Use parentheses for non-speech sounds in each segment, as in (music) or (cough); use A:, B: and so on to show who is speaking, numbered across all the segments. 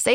A: Say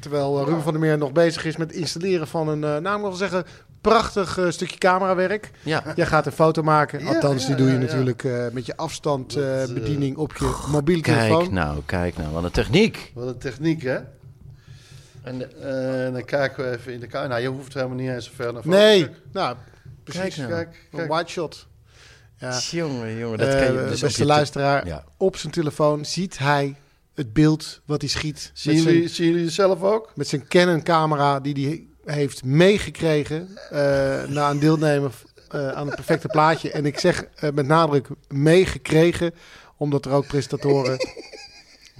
B: Terwijl eh, Ruben van der Meer nog bezig is met installeren van een, eh nou, ik wil zeggen, prachtig eh, stukje camerawerk.
C: Ja.
B: Jij gaat een foto maken.
C: Ja,
B: Althans,
C: ja,
B: die doe je
C: ja, ja.
B: natuurlijk eh, met je
C: Dat, eh,
B: afstandbediening op je mobiele
C: Kijk
B: telefoon.
C: nou, kijk nou. Wat een techniek.
D: Wat een techniek, hè? En eh, dan kijken we even in de kamer. Nou, je hoeft helemaal niet eens zo ver naar voren.
B: Nee,
D: Kijk,
B: nou, precies.
C: nou.
D: Kijk,
B: Een
D: kijk.
B: wide shot. Ja.
C: Jongen, jongen.
B: Eh,
C: dus op
B: beste
C: je te-
B: luisteraar,
C: Ja.
B: op zijn telefoon ziet hij het beeld wat hij schiet.
D: Zien
B: Met zijn,
D: jullie, zien jullie het zelf ook?
B: met zijn Canon camera die hij heeft meegekregen eh, na een deelnemen eh, aan het perfecte plaatje. En ik zeg eh, met nadruk meegekregen, omdat er ook
C: (laughs)
B: presentatoren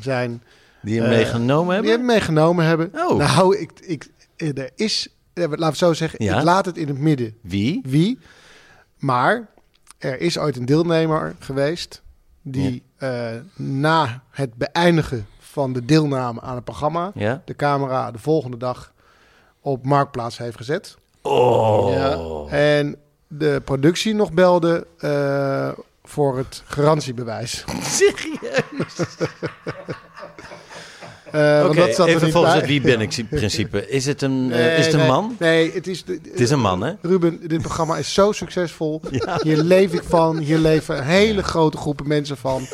B: zijn
C: Die hem
B: eh,
C: meegenomen
B: die
C: hebben?
B: hebben meegenomen hebben.
C: Oh.
B: Nou, ik, ik, eh, er is, eh, laten we het zo zeggen,
C: Ja.
B: ik laat het in het midden
C: Wie?
B: wie. Maar er is ooit een deelnemer geweest die eh, na het beëindigen van de deelname aan het programma
C: Ja.
B: de camera de volgende dag op marktplaats heeft gezet.
C: Oh.
D: Ja.
B: En de productie nog belde eh, voor het garantiebewijs. Eh, want
C: Oké,
B: dat zat er
C: even
B: niet
C: volgens
B: bij.
C: het wie ben
B: (laughs)
C: ik principe. Is het een, eh, is het een
B: nee,
C: man?
B: Nee, het is, de-
C: Het is een man, hè?
B: Ruben, dit programma is zo (laughs) succesvol. Hier leef ik van. Hier leven hele grote groepen mensen van.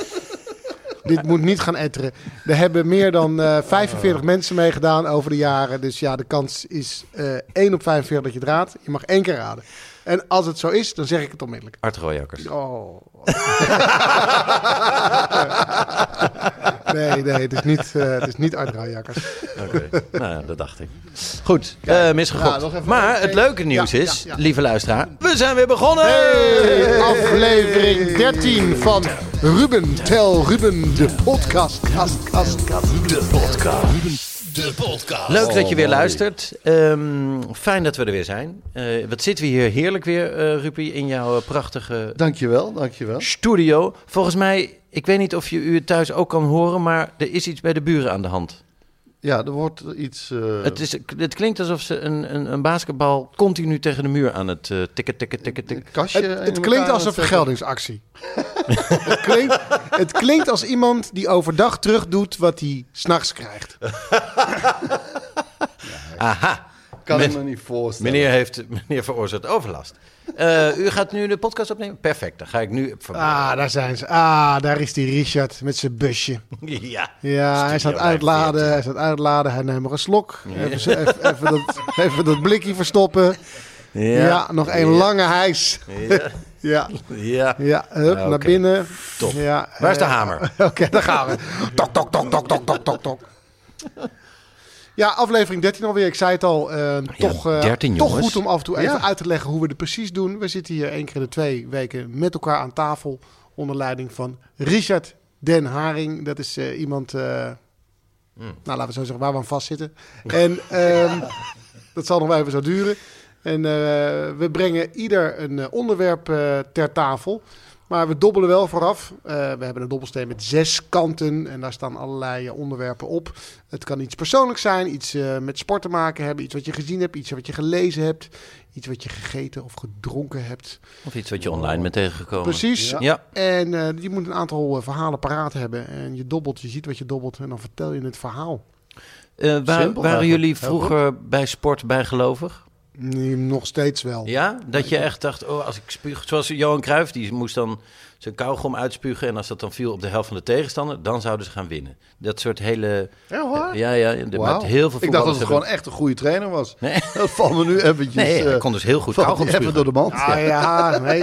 B: Dit moet niet gaan etteren. Er hebben meer dan eh, 45 mensen meegedaan over de jaren. Dus ja, de kans is eh 1 op 45 dat je het raadt. Je mag één keer raden. En als het zo is, dan zeg ik het onmiddellijk.
C: Art Rooijakkers. (laughs)
B: Oh. (laughs) nee, nee, het is niet, eh het is niet Art Rauwjakkers.
C: Oké, nou ja, dat dacht ik. Goed, eh misgegokt.
D: Ja, nog even-
C: maar het leuke nieuws
B: Ja,
C: is,
B: ja, ja.
C: lieve luisteraar, we zijn weer begonnen!
B: Hey, aflevering 13 van Ruben Tel Ruben, de podcast. Kast, kast, kast.
C: Leuk dat je weer luistert. Ehm, fijn dat we er weer zijn. Eh, wat zitten we hier heerlijk weer, eh Rupi, in jouw eh, prachtige
D: Dankjewel, dankjewel.
C: studio. Volgens mij, ik weet niet of je u het thuis ook kan horen, maar er is iets bij de buren aan de hand.
D: Ja, er wordt iets... eh,
C: Het, is, het klinkt alsof ze een, een, een basketbal continu tegen de muur aan het eh, tikken, tikken, tikken, tikken.
D: een kastje
B: Het,
D: in
B: het
D: elkaar
B: klinkt
D: aan
B: als een
D: het
B: vergeldingsactie. (laughs) het, klinkt, het klinkt als iemand die overdag terugdoet wat hij s'nachts krijgt.
C: Aha,
D: zetten. kan ik
C: Met-
D: me niet voorstellen.
C: meneer, heeft, (laughs) meneer veroorzaakt overlast. Eh, u gaat nu de podcast opnemen? Perfect, dan ga ik nu... Van...
B: Ah, daar zijn ze. Ah, daar is die Richard met zijn busje.
C: (laughs) ja.
B: Ah. Ja, hij staat
C: Studio
B: uitladen.
C: 14.
B: Hij staat uitladen. Hij neemt er een slok. Even, zo- even, even dat, even dat blikje verstoppen. Ja, nog een lange hijs. Ja.
C: Ja. ja.
B: (laughs) Ja, hup,
C: Ah, oké.
B: naar binnen.
C: Top.
B: Ja,
C: Waar is de
B: eh,
C: hamer?
B: (laughs) Oké, daar gaan we. Tok, tok, tok, tok, tok, tok, tok, tok. Ja, aflevering 13 alweer. Ik zei het al, eh, toch, eh,
C: 13
B: toch
C: jongens.
B: goed om af en toe even
D: Ja.
B: uit te leggen hoe we het precies doen. We zitten hier één keer in de twee weken met elkaar aan tafel. Onder leiding van Richard Den Haring. Dat is eh, iemand, eh, nou laten we zo zeggen, waar we aan vastzitten. En ehm, (laughs) dat zal nog wel even zo duren. En eh, we brengen ieder een eh, onderwerp eh, ter tafel. Maar we dobbelen wel vooraf. Eh, we hebben een dobbelsteen met zes kanten en daar staan allerlei eh, onderwerpen op. Het kan iets persoonlijks zijn, iets eh, met sport te maken hebben, iets wat je gezien hebt, iets wat je gelezen hebt, iets wat je gegeten of gedronken hebt.
C: Of iets wat je online bent tegengekomen.
B: Precies.
C: Ja.
B: En eh, je moet een aantal eh, verhalen paraat hebben. En je dobbelt, je ziet wat je dobbelt en dan vertel je het verhaal.
C: Eh, waar-
D: Simpel
C: waren
D: eigenlijk.
C: jullie vroeger bij sport bijgelovig?
B: Nu Nog steeds wel.
C: Ja? Dat je echt dacht, oh, als ik spuug... Zoals Johan Cruijff, die moest dan zijn kauwgom uitspugen... en als dat dan viel op de helft van de tegenstander... dan zouden ze gaan winnen. Dat soort hele...
D: Ja hoor.
C: Ja, ja. De,
D: Ah. Wauw.
C: met heel veel
D: ik dacht dat
C: voetballers
D: het
C: hebben-
D: gewoon echt een goede trainer was.
C: Nee.
D: (laughs) Dat valt me nu eventjes...
C: Nee, hij
D: eh,
C: kon dus heel goed
D: valt
C: kauwgom
D: me even
C: spugen.
D: door de mand.
B: Ah ja, (laughs) nee.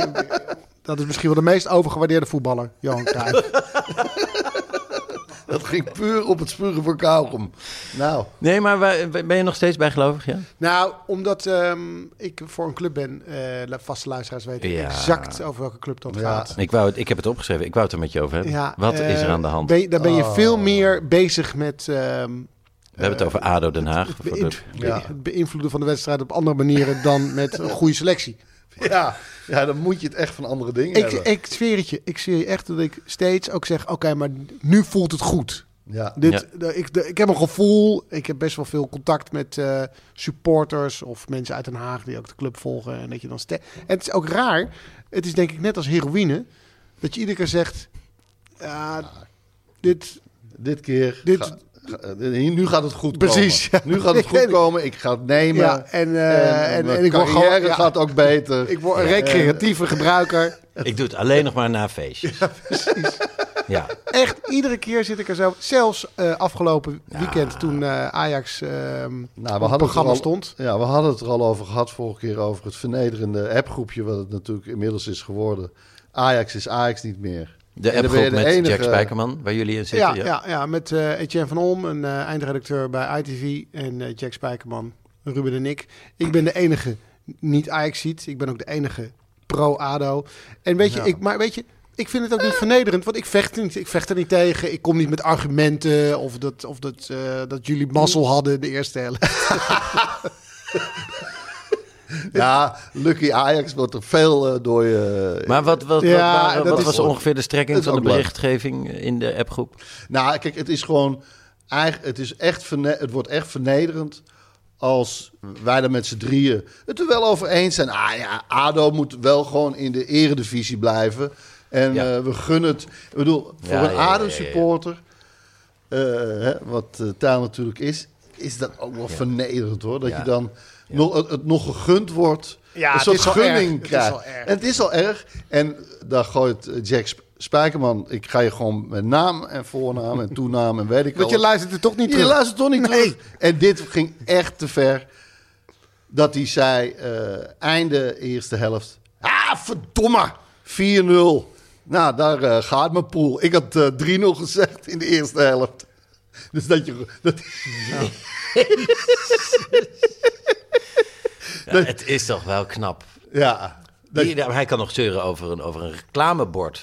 B: Dat is misschien wel de meest overgewaardeerde voetballer, Johan
C: (laughs)
B: Cruijff.
D: Dat ging puur op het spugen voor kauwgom. Nou,
C: Nee, maar wij- ben je nog steeds bijgelovig? Ja?
B: Nou, omdat ehm, ik voor een club ben, eh, la- vaste luisteraars weten
C: Ja.
B: exact over welke club dat
D: Ja.
B: gaat.
C: Ik, wou het, ik heb het opgeschreven. Ik wou het er met je over hebben.
B: Ja,
C: Wat is er
B: eh,
C: aan de hand?
B: Ben, je- dan ben je
D: Oh.
B: veel meer bezig met ehm,
C: We hebben het over ADO Den Haag.
D: (laughs)
B: het,
C: voor de-
B: beïn-
D: de- Ja.
B: het beïnvloeden van de wedstrijd op andere manieren dan
D: (laughs)
B: met een goede selectie.
D: ja, ja, dan moet je het echt van andere dingen
B: Ik,
D: hebben.
B: ik zweer het je, ik zweer je echt dat ik steeds ook zeg, oké, maar nu voelt het goed.
D: ja.
B: Dit, de- ik, de- ik heb een gevoel. Ik heb best wel veel contact met eh, supporters of mensen uit Den Haag die ook de club volgen. En dat je dan ste- en het is ook raar. Het is denk ik net als heroïne. Dat je iedere keer zegt. ja,
D: Ah.
B: dit,
D: Dit keer...
B: Dit-
D: ga- ga- eh, hier- nu gaat het goed
B: Precies, (laughs)
D: komen.
B: ja.
D: Nu gaat het goed
B: Ik weet-
D: komen. Ik ga het nemen.
B: ja, en, eh, en, en,
D: mijn
B: ik word gewoon.
D: carrière
B: ja,
D: gaat ook
B: (laughs)
D: beter. eh,
B: ik word een recreatieve gebruiker.
C: Ik doe het alleen nog maar na feestjes. Ja,
B: Echt, iedere keer zit ik er zo. Zelfs eh, afgelopen
C: Ja.
B: weekend toen eh, Ajax ehm
D: Nou,
B: op
D: we
B: het
D: hadden het er
B: programma
D: al,
B: stond.
D: Ja, we hadden het er al over gehad vorige keer over het vernederende appgroepje wat het natuurlijk inmiddels is geworden. Ajax is Ajax niet meer.
C: De
D: En dan ben
C: appgroep
D: je
C: met
D: de enige-
C: Jack Spijkerman, waar jullie in
B: Ja,
C: zitten. Ja,
B: ja, ja, met eh, Etienne van Olm, een eh, eindredacteur bij ITV en eh, Jack Spijkerman, Ruben en ik. Ik ben de enige niet ajax ziet. Ik ben ook de enige pro-ADO. En weet je,
D: Ja.
B: ik, maar weet je, ik vind het ook niet vernederend, want ik vecht, er niet, ik vecht er niet tegen. Ik kom niet met argumenten of dat, of dat, eh, dat jullie
D: Mm.
B: mazzel hadden de eerste helft.
D: (laughs) Ja, Lucky Ajax wordt er veel eh, door je.
C: Maar wat, wat, wat,
B: Ja,
C: waren-
B: dat
C: wat
B: is-
C: was ongeveer de strekking
D: Dat is
C: van de
D: ook leuk.
C: berichtgeving in de appgroep?
D: Nou, kijk, het is gewoon. eigen- Het, is echt verne- het wordt echt vernederend als wij er met z'n drieën het er wel over eens zijn. Ah ja, ADO moet wel gewoon in de eredivisie blijven. En
C: Ja.
D: eh, we gunnen het. Ik bedoel, voor
C: Ja, ja,
D: een
C: ja, ja, ja.
D: ADO-supporter, eh, hè, wat eh taal natuurlijk is, is dat ook wel vernederend hoor. Dat
C: Ja.
D: je dan nog, het, het nog gegund wordt.
B: Ja,
D: een
B: het
D: soort
B: is al erg.
D: gunning
B: Het is
D: krijgt.
B: al erg.
D: En het is al erg. En daar gooit eh, Jack Sp- Spijkerman. Ik ga je gewoon met naam en voornaam en toenaam en weet ik
B: Want je
D: alles.
B: luistert er toch niet
D: Je
B: terug.
D: luistert toch niet
B: Nee.
D: terug. En dit ging echt te ver. Dat hij zei, eh, einde eerste helft. Ah, verdomme. 4-0. Nou, daar eh, gaat mijn pool. Ik had eh, 3-0 gezegd in de eerste helft. Dus dat je... Dat, (laughs)
C: Ja, het is toch wel knap.
D: ja. Dat,
C: Die- hij kan nog zeuren over een, over een reclamebord.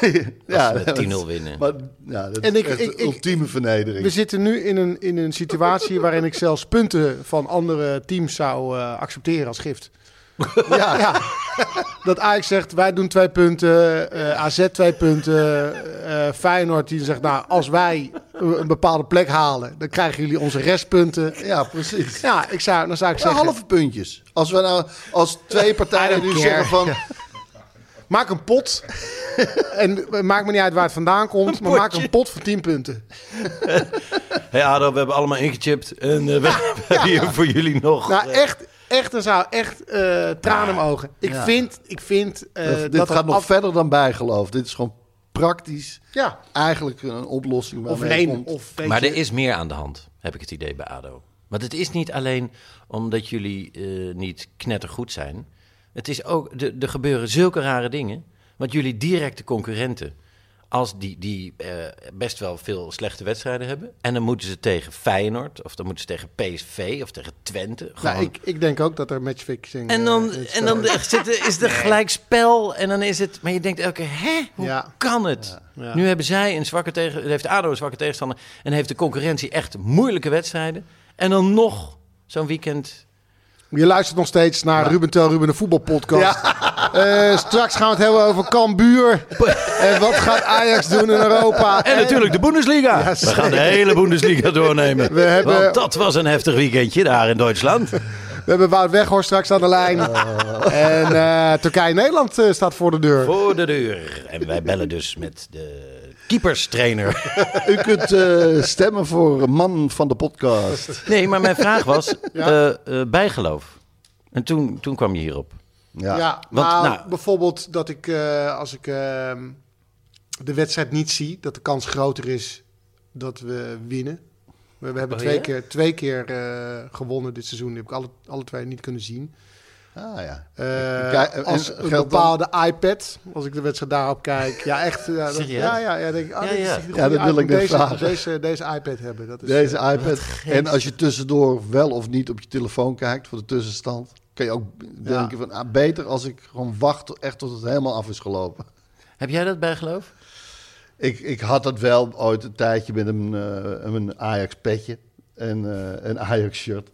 C: (laughs)
D: ja,
C: met
D: dat-
C: 10-0 winnen.
D: Maar, ja, dat
B: En
D: is
B: ik-
D: echt
B: ik-
D: de
B: ik-
D: ultieme vernedering.
B: We zitten nu in een, in een
D: (laughs)
B: situatie waarin ik zelfs punten van andere teams zou eh, accepteren als gift.
D: (laughs) ja.
B: Ja. Dat Ajax zegt, wij doen twee punten, eh, AZ twee punten, eh, Feyenoord die zegt, nou, als wij een een bepaalde plek halen, dan krijgen jullie onze restpunten.
D: ja, precies.
B: Ja, ik zou, dan zou ik
D: Ja,
B: zeggen,
D: halve puntjes. Als we nou als twee partijen nu
B: care.
D: zeggen van
B: maak een
D: (laughs)
B: pot en eh, maakt me niet uit waar het vandaan komt, maar maak een pot van 10 punten.
C: hey ADO, we hebben allemaal ingechipt. En eh, we we hebben hier voor jullie nog...
B: Nou,
C: eh,
B: echt, echt, dan zou echt eh tranen in mijn ogen. Ik
D: Ja.
B: vind, ik vind eh,
D: dit
B: dat
D: gaat
B: dat
D: nog
B: af-
D: verder dan bijgeloof. Dit is gewoon praktisch
B: Ja,
D: eigenlijk een oplossing
B: of
D: waarmee
B: leen,
D: komt.
B: of weet
C: Maar
B: je-
C: er is meer aan de hand, heb ik het idee bij ADO. Want het is niet alleen omdat jullie eh, niet knettergoed zijn. Het is ook, er- er gebeuren zulke rare dingen. Want jullie directe concurrenten, als die, die eh, best wel veel slechte wedstrijden hebben... en dan moeten ze tegen Feyenoord, of dan moeten ze tegen PSV of tegen Twente. Gewoon.
B: Nou, ik, ik denk ook dat er matchfixing...
C: En
B: eh,
C: dan,
B: in het
C: en dan
B: spel
C: echt zitten, is er gelijk spel en dan is het... Maar je denkt elke keer, hè? Hoe
B: Ja.
C: kan het?
B: Ja.
C: Nu hebben zij een zwakke tegen, heeft ADO een zwakke tegenstander... en heeft de concurrentie echt moeilijke wedstrijden. En dan nog zo'n weekend...
B: Je luistert nog steeds naar Ruben Tel Ruben de voetbalpodcast. (laughs) Eh, straks gaan we het hebben over
D: (laughs)
B: Cambuur. en wat gaat Ajax doen in Europa?
C: En natuurlijk de Bundesliga. We gaan de hele Bundesliga doornemen.
B: We hebben-
C: Want dat was een heftig weekendje daar in
B: (laughs)
C: Duitsland.
B: We hebben Wout Weghorst straks aan de lijn. En eh, Turkije-Nederland eh, staat voor de deur.
C: Oh. Voor de deur. En wij bellen dus met de keeperstrainer.
D: U kunt eh, stemmen voor man van de podcast.
C: Nee, maar mijn vraag was eh, eh, bijgeloof. En toen, toen kwam je hierop.
D: Ja.
B: Ja,
C: Want,
B: nou,
C: nou-
B: bijvoorbeeld dat ik eh, als ik eh, de wedstrijd niet zie, dat de kans groter is dat we winnen. We, we hebben
C: Oh,
B: twee
C: ja?
B: keer, twee keer eh, gewonnen dit seizoen. Die heb ik alle, alle twee niet kunnen zien.
D: Ah, ja.
B: Eh,
D: Kijk, en
B: als
D: geldt
B: een
D: dan-
B: bepaalde iPad, als ik de wedstrijd daarop kijk. Ja, echt. Ja, dat,
C: Serieus?
B: ja, ja, ja, denk ik, ah,
C: Ja,
B: dit is
C: ja.
B: echt een
D: Ja, dat
B: goede
D: wil ik
B: iPad.
D: net
B: deze,
D: vragen.
B: Deze, deze iPad hebben. Dat is,
D: Deze iPad. En als je tussendoor wel of niet op je telefoon kijkt voor de tussenstand, kan je ook denken van ah, beter als ik gewoon wacht tot- echt tot het helemaal af is gelopen.
C: Heb jij dat bijgeloof?
D: Ik, ik had dat wel ooit een tijdje met een, eh, een Ajax petje en eh, een Ajax shirt.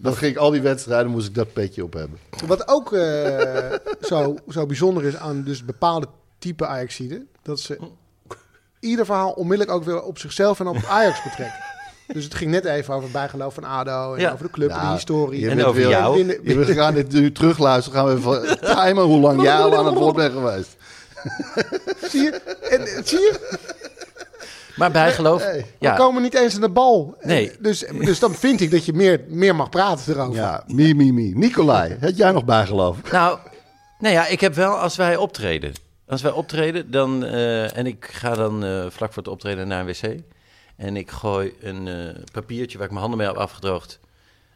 D: Dan ging ik al die wedstrijden, moest ik dat petje op hebben.
B: Wat ook eh, (laughs) zo, zo bijzonder is aan dus bepaalde type Ajaxiden, dat ze ieder verhaal onmiddellijk ook weer op zichzelf en
D: (laughs)
B: op Ajax betrekken. Dus het ging net even over bijgeloof van ADO en
C: Ja.
B: over de club en de
D: Nou,
B: historie.
D: je
C: En
D: bent
C: over
D: weer-
C: jou.
B: Binnen-
D: Je- We gaan dit nu terugluisteren. Gaan we even (laughs) timen hoe lang jij al aan het woord bent geweest.
B: Zie je? En, eh, zie je?
C: Maar bijgeloof?
B: We
C: ja.
B: komen niet eens aan de bal. En
C: Nee.
B: Dus, dus dan vind ik dat je meer, meer mag praten erover.
D: Ja, mi, mi, mi. Nicolai, had jij nog bijgeloof?
C: Nou, nou ja, ik heb wel als wij optreden. Als wij optreden, dan. eh, en ik ga dan eh, vlak voor het optreden naar een wc. En ik gooi een eh, papiertje waar ik mijn handen mee heb afgedroogd.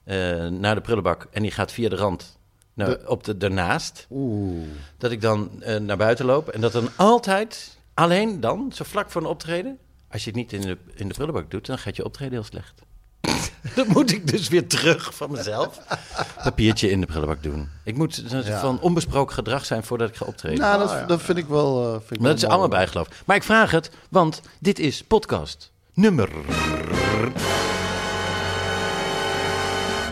C: eh, naar de prullenbak. En die gaat via de rand. Naar, op de, daarnaast.
D: Oeh.
C: Dat ik dan eh, naar buiten loop. En dat dan altijd. Alleen dan, zo vlak voor een optreden. Als je het niet in de, in de prullenbak doet, dan gaat je optreden heel slecht. (laughs) Dat moet ik dus weer terug van mezelf. Papiertje in de prullenbak doen. Ik moet dat is van onbesproken gedrag zijn voordat ik ga optreden.
D: Nou, dat, dat vind ik wel. eh, vind
C: Ah,
D: ik
C: maar
D: wel
C: dat is
D: mooi.
C: allemaal bijgeloof. Maar ik vraag het, want dit is podcast nummer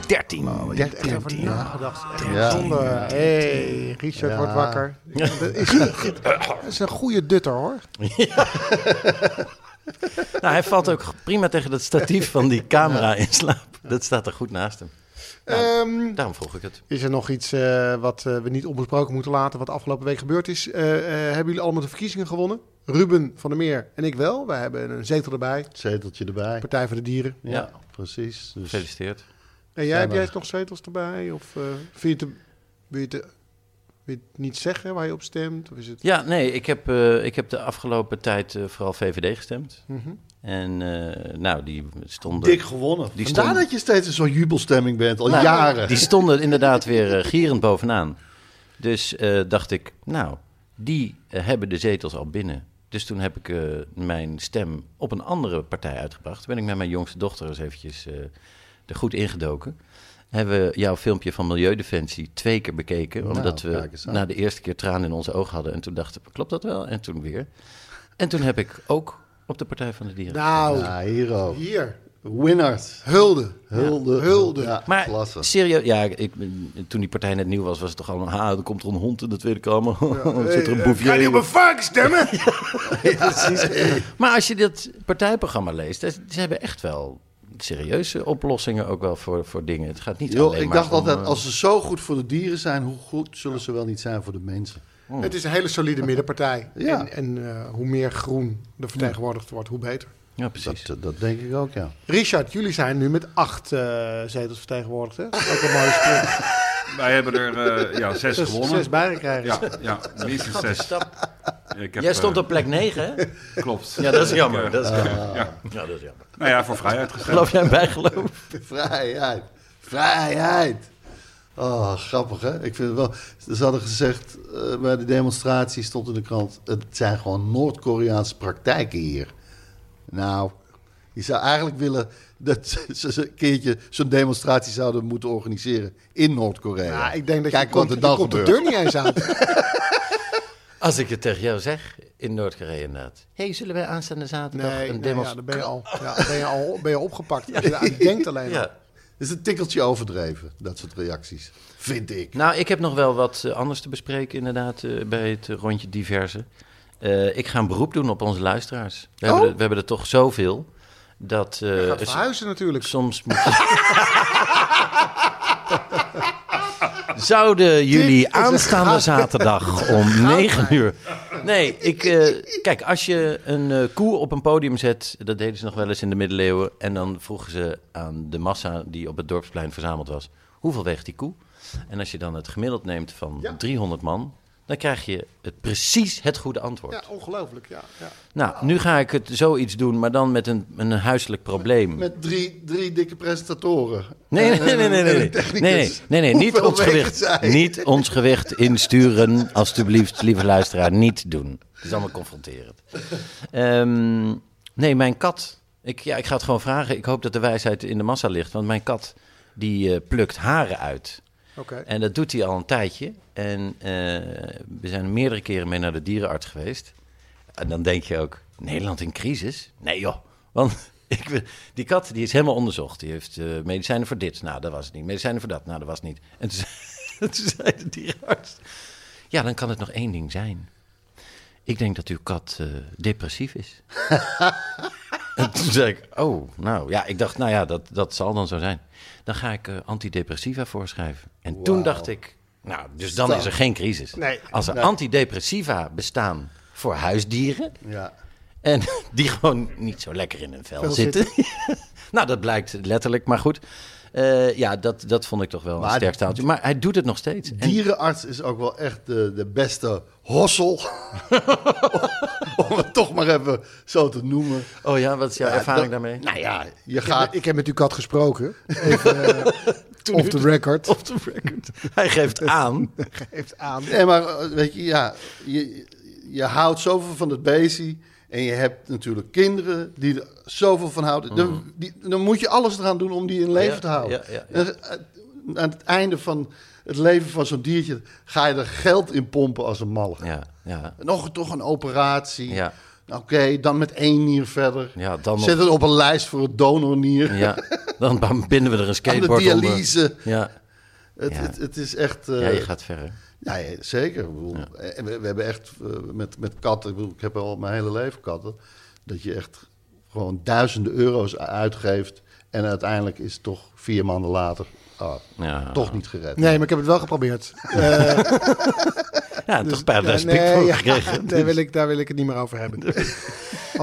C: 13.
B: Ik heb er nagedacht. Echt
D: Ja.
B: zonde. hey, Richard
D: Ja.
B: wordt wakker. Dat is,
C: (laughs)
B: dat is een goede dutter hoor.
C: Nou, hij valt ook prima tegen dat statief van die camera in slaap. Dat staat er goed naast hem.
B: Ehm,
C: Daarom vroeg ik het.
B: Is er nog iets eh, wat eh, we niet onbesproken moeten laten, wat afgelopen week gebeurd is? Eh, eh, hebben jullie allemaal de verkiezingen gewonnen? Ruben van der Meer en ik wel. Wij hebben een zetel erbij.
D: Zeteltje erbij.
B: Partij voor de Dieren.
D: Ja,
C: Ja.
D: precies. Dus
C: Gefeliciteerd.
B: En jij, heb
D: maar-
B: jij nog zetels erbij? Of eh, vind je het, wil, je het, eh, wil je het niet zeggen waar je op stemt? Of is het...
C: Ja, nee, ik heb, eh, ik heb de afgelopen tijd eh, vooral VVD gestemd. En eh, nou, die stonden...
D: dik gewonnen.
C: Die
D: Vandaar
C: stond-
D: dat je steeds in zo'n jubelstemming bent, al
C: Nou,
D: jaren.
C: Die stonden inderdaad weer eh, gierend bovenaan. Dus eh, dacht ik, nou, die eh, hebben de zetels al binnen. Dus toen heb ik eh, mijn stem op een andere partij uitgebracht. Toen ben ik met mijn jongste dochter eens eventjes eh, er goed ingedoken. Hebben we jouw filmpje van Milieudefensie twee keer bekeken.
D: Nou,
C: Omdat we
D: kijk eens aan.
C: na de eerste keer tranen in onze ogen hadden. En toen dachten we, klopt dat wel? En toen weer. En toen heb ik ook op de Partij van de Dieren.
B: Nou,
D: Ja, hier ook.
B: hier.
D: Winners.
B: Hulde.
D: Hulde.
B: Hulde.
D: Ja,
C: Maar
D: klasse.
C: serieus, ja, ik, toen die partij net nieuw was, was het toch allemaal... Ha, dan komt er een hond in de Tweede Kamer. Dan zit (laughs) Oh,
B: Eh,
C: er een boefje in.
B: varken
C: (laughs)
B: stemmen?
C: Maar als je dit partijprogramma leest, dat- ze hebben echt wel serieuze oplossingen ook wel voor, voor dingen. Het gaat niet
D: Joh,
C: alleen
D: ik
C: maar
D: dacht
C: om,
D: altijd,
C: eh,
D: als ze zo goed voor de dieren zijn, hoe goed zullen ze wel niet zijn voor de mensen?
B: Het is een hele solide middenpartij.
D: Ja.
B: En, en eh, hoe meer groen er vertegenwoordigd wordt, hoe beter.
C: Ja, precies.
D: Dat, eh, dat denk ik ook, ja.
B: Richard, jullie zijn nu met acht eh, zetels vertegenwoordigd. Hè? Ook een mooie sprong.
E: Wij hebben er eh, ja, zes
B: Zes,
E: gewonnen.
B: zes bijgekregen.
E: Ja, ja, minstens zes.
C: Stap.
E: Ik heb,
C: Jij
E: eh,
C: stond op plek 9,
D: (laughs)
C: hè?
E: Klopt.
C: Ja, dat is jammer.
E: Ik,
C: Dat is jammer.
D: Ah.
E: eh, ja.
C: Ja, dat is jammer.
E: Nou ja, voor vrijheid gestemd.
C: Geloof jij bij geloof?
D: (laughs) Vrijheid. Vrijheid. Oh, grappig hè? Ik vind het wel. Ze hadden gezegd eh, bij de demonstratie stond in de krant: het zijn gewoon Noord-Koreaanse praktijken hier. Nou, je zou eigenlijk willen dat (laughs) ze- ze ze een keertje zo'n demonstratie zouden moeten organiseren in Noord-Korea.
B: Ja, ik denk dat
D: Kijk
B: je,
D: wat
B: komt,
D: er
B: je
D: dan
B: komt de
D: gebeurt.
B: deur niet eens uit.
C: Als ik het tegen jou zeg, in Noord-Korea inderdaad. Hé, hey, zullen wij aanstaande zaterdag
B: Nee,
C: een
B: nee ja,
C: demonstratie...
B: dan ben je al, ja, dan ben je al ben je opgepakt. Als je eraan denkt alleen al.
C: ja.
D: Het is een tikkeltje overdreven, dat soort reacties. Vind ik.
C: Nou, ik heb nog wel wat eh, anders te bespreken, inderdaad, eh, bij het eh, rondje diverse. Eh, ik ga een beroep doen op onze luisteraars. We,
D: Oh.
C: hebben, er, we hebben er toch zoveel dat. eh,
B: Gaat verhuizen natuurlijk.
C: soms moet je. Zouden jullie
B: Dit is een
C: aanstaande zaterdag om 9 uur Nee, ik, eh, kijk, als je een eh, koe op een podium zet, dat deden ze nog wel eens in de middeleeuwen, en dan vroegen ze aan de massa die op het dorpsplein verzameld was, hoeveel weegt die koe? En als je dan het gemiddeld neemt van 300 man, dan krijg je het, precies het goede antwoord.
B: Ja, ongelooflijk. Ja, ja.
C: Nou, nu ga ik het zoiets doen, maar dan met een, een huiselijk probleem.
D: Met drie, drie dikke presentatoren.
C: Nee, nee, nee, nee, nee,
D: (laughs) En een
C: nee, nee,
D: Eh, technicus.
C: nee, nee, nee, niet
D: Hoeveel
C: ons
D: wegen
C: gewicht,
D: zij?
C: niet ons gewicht insturen, alstublieft, lieve luisteraar, niet doen. Het is allemaal confronterend. Ehm, nee, mijn kat, ik, ja, ik ga het gewoon vragen, ik hoop dat de wijsheid in de massa ligt, want mijn kat, die eh, plukt haren uit.
B: Oké.
C: En dat doet hij al een tijdje. En eh, we zijn meerdere keren mee naar de dierenarts geweest. En dan denk je ook, Nederland in crisis? Nee joh, want (laughs) ik, wil- die kat die is helemaal onderzocht. Die heeft eh, medicijnen voor dit, nou dat was het niet. Medicijnen voor dat, nou dat was het niet. En toen, (laughs) zei- toen zei de dierenarts, ja dan kan het nog één ding zijn. Ik denk dat uw kat eh, depressief
D: (laughs)
C: is. en toen zei ik, oh, nou ja, ik dacht, nou ja, dat, dat zal dan zo zijn. Dan ga ik eh, antidepressiva voorschrijven. En toen dacht ik, nou, dus dan is er geen crisis.
B: Nee.
C: Als er antidepressiva bestaan voor huisdieren,
D: Ja.
C: en (laughs) die gewoon niet zo lekker in hun vel
B: Vel
C: zitten. (laughs) nou, dat blijkt letterlijk, maar goed. Eh, ja, dat, dat vond ik toch wel een
D: Maar
C: sterk staaltje. Maar hij doet het nog steeds. En
D: Dierenarts is ook wel echt de, de beste hossel. (laughs) Om het toch maar even zo te noemen.
C: oh ja, wat is jouw
D: Ja,
C: ervaring
D: dat-
C: daarmee?
D: Nou ja, je
B: Ik, heb,
D: gaat...
B: ik heb met uw kat gesproken. Even, eh, off the record.
C: Op de record. Hij geeft
D: (laughs)
C: aan.
B: Geeft aan.
D: Nee, maar eh, weet je, ja, je, je houdt zoveel van het beestje. En je hebt natuurlijk kinderen die er zoveel van houden. Dan, die, dan moet je alles eraan doen om die in leven
C: Mhm. Ja,
D: te houden.
C: ja, ja, ja.
D: En, eh, aan het einde van het leven van zo'n diertje ga je er geld in pompen als een malle.
C: Ja, ja.
D: Nog toch een operatie. Nou,
C: Ja.
D: Oké, dan met één nier verder.
C: Ja, dan nog-
D: Zet het op een lijst voor het donornier.
C: ja. Dan binden we er een
D: Aan de
C: skateboard
D: dialyse.
C: onder. Ja.
D: Het,
C: Ja.
D: Het, het is echt... eh,
C: ja, je gaat verder.
D: ja, ja, zeker. Ik bedoel, eh, We, we hebben echt eh, met, met katten, ik, bedoel, ik heb al mijn hele leven katten, dat je echt gewoon duizenden euro's uitgeeft en uiteindelijk is het toch vier maanden later ah,
C: Ja.
D: toch niet gered.
B: Nee, maar ik heb het wel geprobeerd.
C: Ja, toch paradijs
B: nee,
C: voor
B: Dus ja,
C: gekregen.
B: (laughs)
C: dus.
B: daar, wil ik, daar wil ik het niet meer over hebben.
C: (laughs)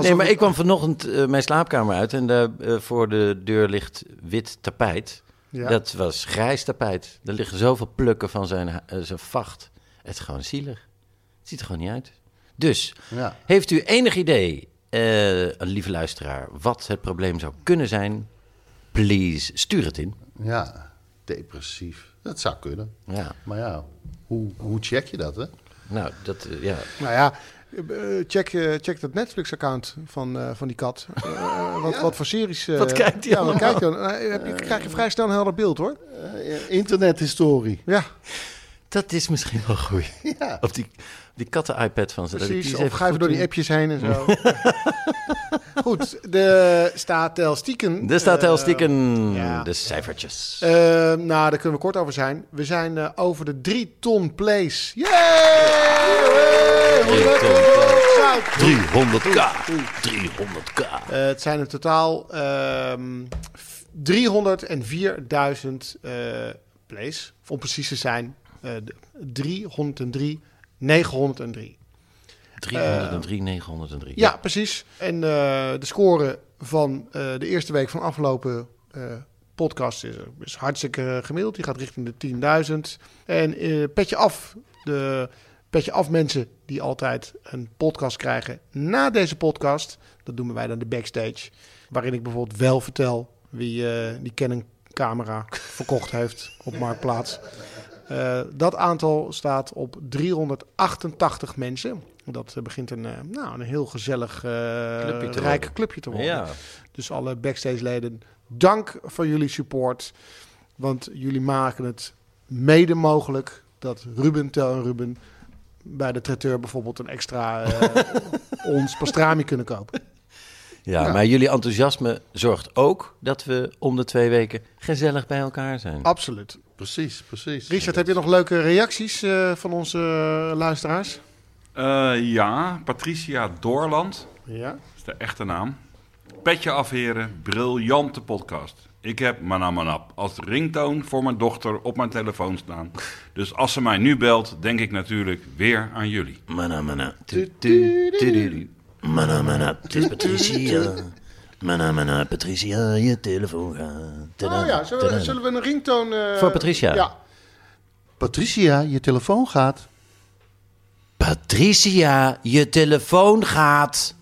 C: Nee, maar ik kwam vanochtend eh, mijn slaapkamer uit en daar eh, voor de deur ligt wit tapijt.
B: Ja.
C: Dat was grijs tapijt. Er liggen zoveel plukken van zijn, ha- eh, zijn vacht. Het is gewoon zielig. Het ziet er gewoon niet uit. Dus,
D: Ja.
C: heeft u enig idee, eh, lieve luisteraar, wat het probleem zou kunnen zijn? Please, stuur het in.
D: Ja, depressief. Dat zou kunnen.
C: Ja,
D: Maar ja, hoe, hoe check je dat, hè?
C: nou, dat, eh, ja.
B: Nou ja, eh, check, eh, check dat Netflix-account van, eh, van die kat.
C: (laughs)
B: Eh, wat, wat voor series... eh,
C: Wat kijkt die
B: ja, wat
C: allemaal?
B: kijkt die dan? Eh, heb je, krijg je vrij snel een helder beeld, hoor.
D: Eh, Internethistorie.
B: Ja,
C: dat is misschien wel
B: (laughs)
C: goed.
D: Ja.
C: Op die, die katten-iPad van ze. dat ik die
B: precies.
C: eens
B: Of
C: even
B: ga even
C: goed
B: door die
C: doe.
B: appjes heen en
C: (laughs)
B: zo. Goed, de statistieken.
C: Er staat heel
B: Eh,
C: stikken
B: ja.
C: de cijfertjes.
B: Eh, nou, daar kunnen we kort over zijn. We zijn eh, over de 3 ton plays. Yay! Hey! Hoe
C: Drie
B: leuk,
C: ton
B: hoe leuk,
C: plays.
B: zout.
C: 300k. 300k.
B: Eh, het zijn in totaal ehm, f- 304.000 eh plays. Of Om precies te zijn, eh, de- 303, 903.
C: 303, 903.
B: Eh. Ja, precies. En eh, de score van eh, de eerste week van afgelopen eh, podcast is, is hartstikke gemiddeld. Die gaat richting de 10.000. En eh, petje af, de petje af mensen die altijd een podcast krijgen na deze podcast. Dat doen wij dan de backstage. Waarin ik bijvoorbeeld wel vertel wie eh, die Canon camera verkocht heeft op Marktplaats. Eh, dat aantal staat op 388 mensen. Dat eh, begint een, eh, nou, een heel gezellig, eh,
C: Clubje te
B: rijk
C: worden.
B: clubje te worden.
C: Ja.
B: Dus alle backstage-leden, dank voor jullie support. Want jullie maken het mede mogelijk dat Ruben, Tel en Ruben bij de traiteur bijvoorbeeld een extra eh,
C: (laughs)
B: ons pastrami kunnen kopen.
C: Ja, maar jullie enthousiasme zorgt ook dat we om de twee weken gezellig bij elkaar zijn.
B: Oh. Absoluut.
D: Precies, precies.
B: Richard, heb je nog leuke reacties eh, van onze eh, luisteraars?
E: Eh, ja, Patricia Doorland.
B: Ja.
E: Dat is de echte naam. Petje afheren, briljante podcast. Ik heb Manamanap als ringtoon voor mijn dochter op mijn telefoon staan. Dus als ze mij nu belt, denk ik natuurlijk weer aan jullie.
C: Mana, mana. Tu, tu, tu, du, du. Mana, mana. Het is Patricia. Mana, mana. Patricia, je telefoon gaat. Tada,
B: Oh ja, zullen
C: tada.
B: we, zullen we een ringtoon... eh,
C: Voor Patricia.
B: Ja.
D: Patricia, je telefoon gaat.
C: Patricia, je telefoon gaat.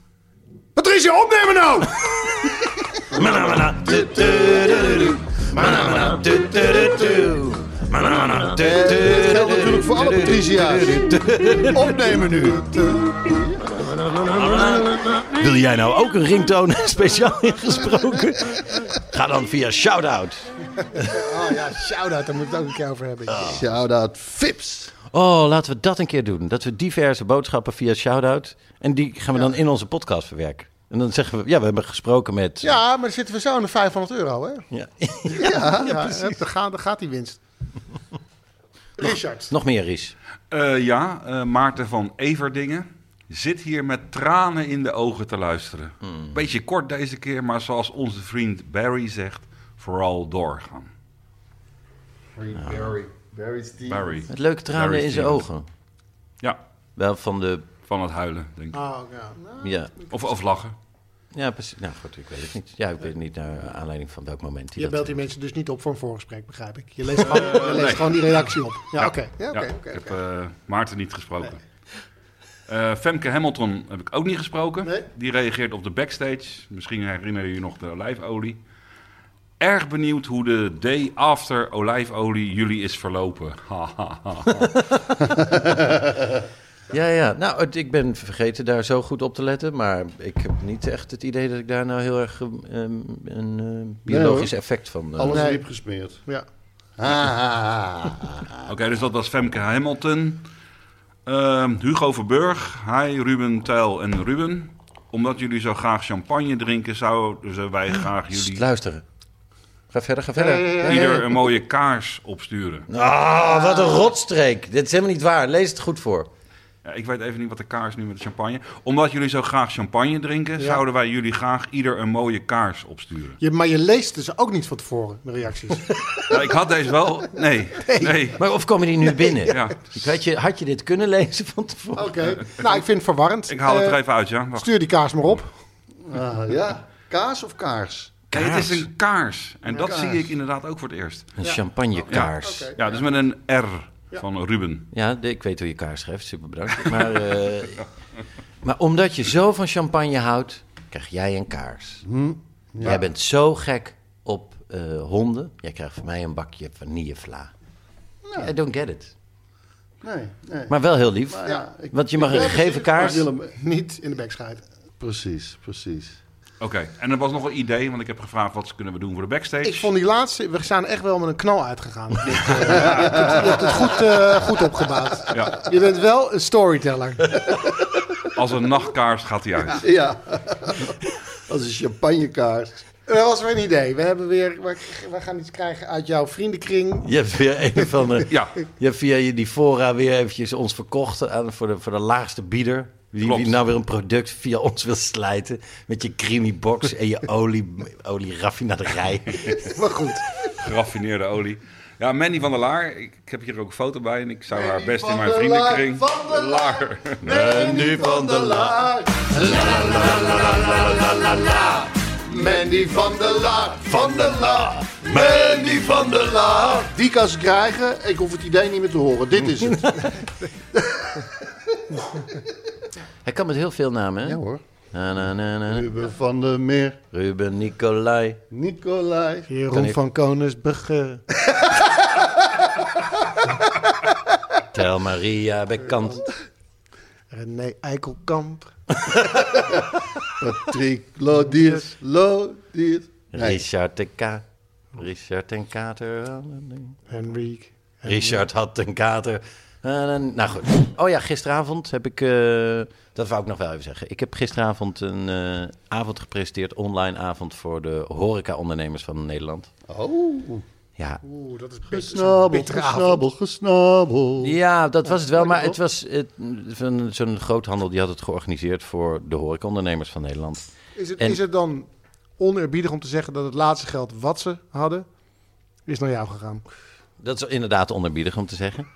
B: Patricia, opnemen nou!
C: Mana, mana. Tu, tu, du, du, du. Mana, mana. Tu, tu, du, du. Mana, mana. Tu, tu,
D: Dit
C: du,
D: geldt natuurlijk voor alle Patricia's. Opnemen nu.
C: du. Wil jij nou ook een ringtoon (laughs) speciaal ingesproken? Ga dan via Shoutout.
B: Oh ja, shout-out, daar moet ik het ook een keer over hebben.
D: Shout-out Fips.
C: Oh, laten we dat een keer doen. Dat we diverse boodschappen via Shoutout. En die gaan we dan in onze podcast verwerken. En dan zeggen we, ja, we hebben gesproken met.
B: Ja, maar dan zitten we zo aan de 500 euro, hè?
C: Ja. (laughs)
B: Ja, ja, daar gaat, daar gaat die winst. Richard.
C: Nog meer, Ries.
E: Eh, ja, eh, Maarten van Everdingen zit hier met tranen in de ogen te luisteren. Beetje kort deze keer, maar zoals onze vriend Barry zegt, vooral doorgaan.
D: Barry. Barry Stevens.
E: Barry.
C: Met leuke tranen
E: Barry
C: in zijn
E: Stevens.
C: ogen.
E: Ja,
C: Wel van de.
E: van het huilen, denk ik.
B: Oh, ja. Nou,
C: Ja,
E: Of, of lachen.
C: ja precies. Nou goed, ik weet het niet. Ja, ik weet het niet naar aanleiding van welk moment. die
B: Je
C: dat-
B: belt die mensen dus niet op voor een voorgesprek, begrijp ik. Je leest gewoon, je leest gewoon die reactie op. Ja, Ah, oké. Ja, oké,
E: Ja,
B: oké,
E: ik heb
B: oké.
E: eh, Maarten niet gesproken. Eh, Femke Hamilton heb ik ook niet gesproken.
B: Nee.
E: Die reageert op de backstage. Misschien herinneren jullie nog de olijfolie. Erg benieuwd hoe de day after olijfolie jullie is verlopen. Ha, ha, ha.
C: Ja, ja. Nou, het- ik ben vergeten daar zo goed op te letten. Maar ik heb niet echt het idee dat ik daar nou heel erg ehm, een eh, biologisch effect van. eh,
D: Alles
B: Nee.
D: diep gesmeerd.
B: Ja. Ah.
E: Oké, dus dat was Femke Hamilton. Ehm, Hugo Verburg. Hi, Ruben, Tijl en Ruben. Omdat jullie zo graag champagne drinken, zouden wij graag jullie
C: Luisteren. Ga verder, ga verder.
E: ieder een mooie kaars opsturen.
C: Ah, wat een rotstreek. Dit is helemaal niet waar. Lees het goed voor.
E: Ja, ik weet even niet wat de kaars nu met de champagne. Omdat jullie zo graag champagne drinken, zouden wij jullie graag ieder een mooie kaars opsturen.
B: Je, maar je leest dus ook niet van tevoren, de reacties.
E: Ja, ik had deze wel. Nee. Nee.
C: Maar of komen die nu binnen?
E: Ja.
C: Ik weet je, had je dit kunnen lezen van tevoren?
B: Oké. Nou, ik vind het verwarrend.
E: Ik haal het
B: Eh,
E: er even uit, ja. Wacht.
B: Stuur die kaars maar op.
D: Ah, ja. Kaas of kaars?
E: Nee, het is een kaars. En dat
D: kaars.
E: zie ik inderdaad ook voor het eerst.
C: Een champagnekaars. Ja,
B: Oké.
E: Ja, dus met een R van Ruben.
C: de- ik weet hoe je kaars schrijft. Super bedankt. Maar, eh, (laughs) maar omdat je zo van champagne houdt, krijg jij een kaars.
D: Hm?
C: Jij bent zo gek op eh, honden. Jij krijgt van mij een bakje vanillevla. I don't get it.
D: Nee, nee.
C: Maar wel heel lief.
D: Nou
B: eh,
D: ja, ik-
C: want je mag een
B: dus
C: gegeven kaars.
D: Willem,
B: Niet in de bek schijten.
D: precies, precies.
E: Oké, en er was nog een idee, want ik heb gevraagd wat kunnen we doen voor de backstage.
B: Ik vond die laatste, we zijn echt wel met een knal (laughs) uitgegaan. Dit, eh, je hebt het goed, eh, goed opgebouwd.
E: Ja,
B: Je bent wel een (laughs) storyteller.
E: als een nachtkaars gaat hij uit.
D: Ja. (laughs) Als een champagnekaars.
B: Dat was weer een idee. We, hebben weer, we- we gaan iets krijgen uit jouw vriendenkring.
C: Je hebt weer een van de.
E: Ja,
C: Je hebt via je die fora weer eventjes ons verkocht aan, voor, de, voor de laagste bieder. Wie,
E: Klopt.
C: wie nou weer een product via ons wil slijten. Met je creamy box en je olie, olieraffinaderij.
B: Maar goed.
E: geraffineerde olie. Ja, Mandy van der Laar, ik, ik heb hier ook een foto bij en ik zou haar best in mijn vriendenkring...
D: Van de (laughs)
E: Laar.
D: Mandy van de Laar. Mandy van de Laar. Van de Laar. Mandy van de Laar. Die kan ze krijgen. Ik hoef het idee niet meer te horen. Dit is het.
C: Hij kan met heel veel namen, hè?
D: Ja hoor.
C: Na, na, na, na.
D: Ruben van der Meer.
C: Ruben, Nicolai.
D: Nicolai.
B: Jeroen van Koningsbrugge.
C: Tel Maria Bekant.
B: René Eikelkamp.
D: Patrick Lodiers. Lodiers. Nee.
C: Richard de K. Richard en Kater. eh,
B: Henrik.
C: Richard had een kater. Eh, dan- nou goed. Oh ja, gisteravond heb ik. eh, dat wou ik nog wel even zeggen. Ik heb gisteravond een eh, avond gepresenteerd. Online avond voor de horeca-ondernemers van Nederland.
D: Oh.
C: Ja.
B: Oeh, dat is
D: Gesnabbel, gesnabbel, gesnabbel.
C: ja, dat was het wel. Maar het was het, van zo'n groothandel die had het georganiseerd voor de horeca-ondernemers van Nederland.
B: Is het,
C: En-
B: is het dan oneerbiedig om te zeggen dat het laatste geld wat ze hadden, is naar jou gegaan.
C: Dat is inderdaad onerbiedig om te zeggen.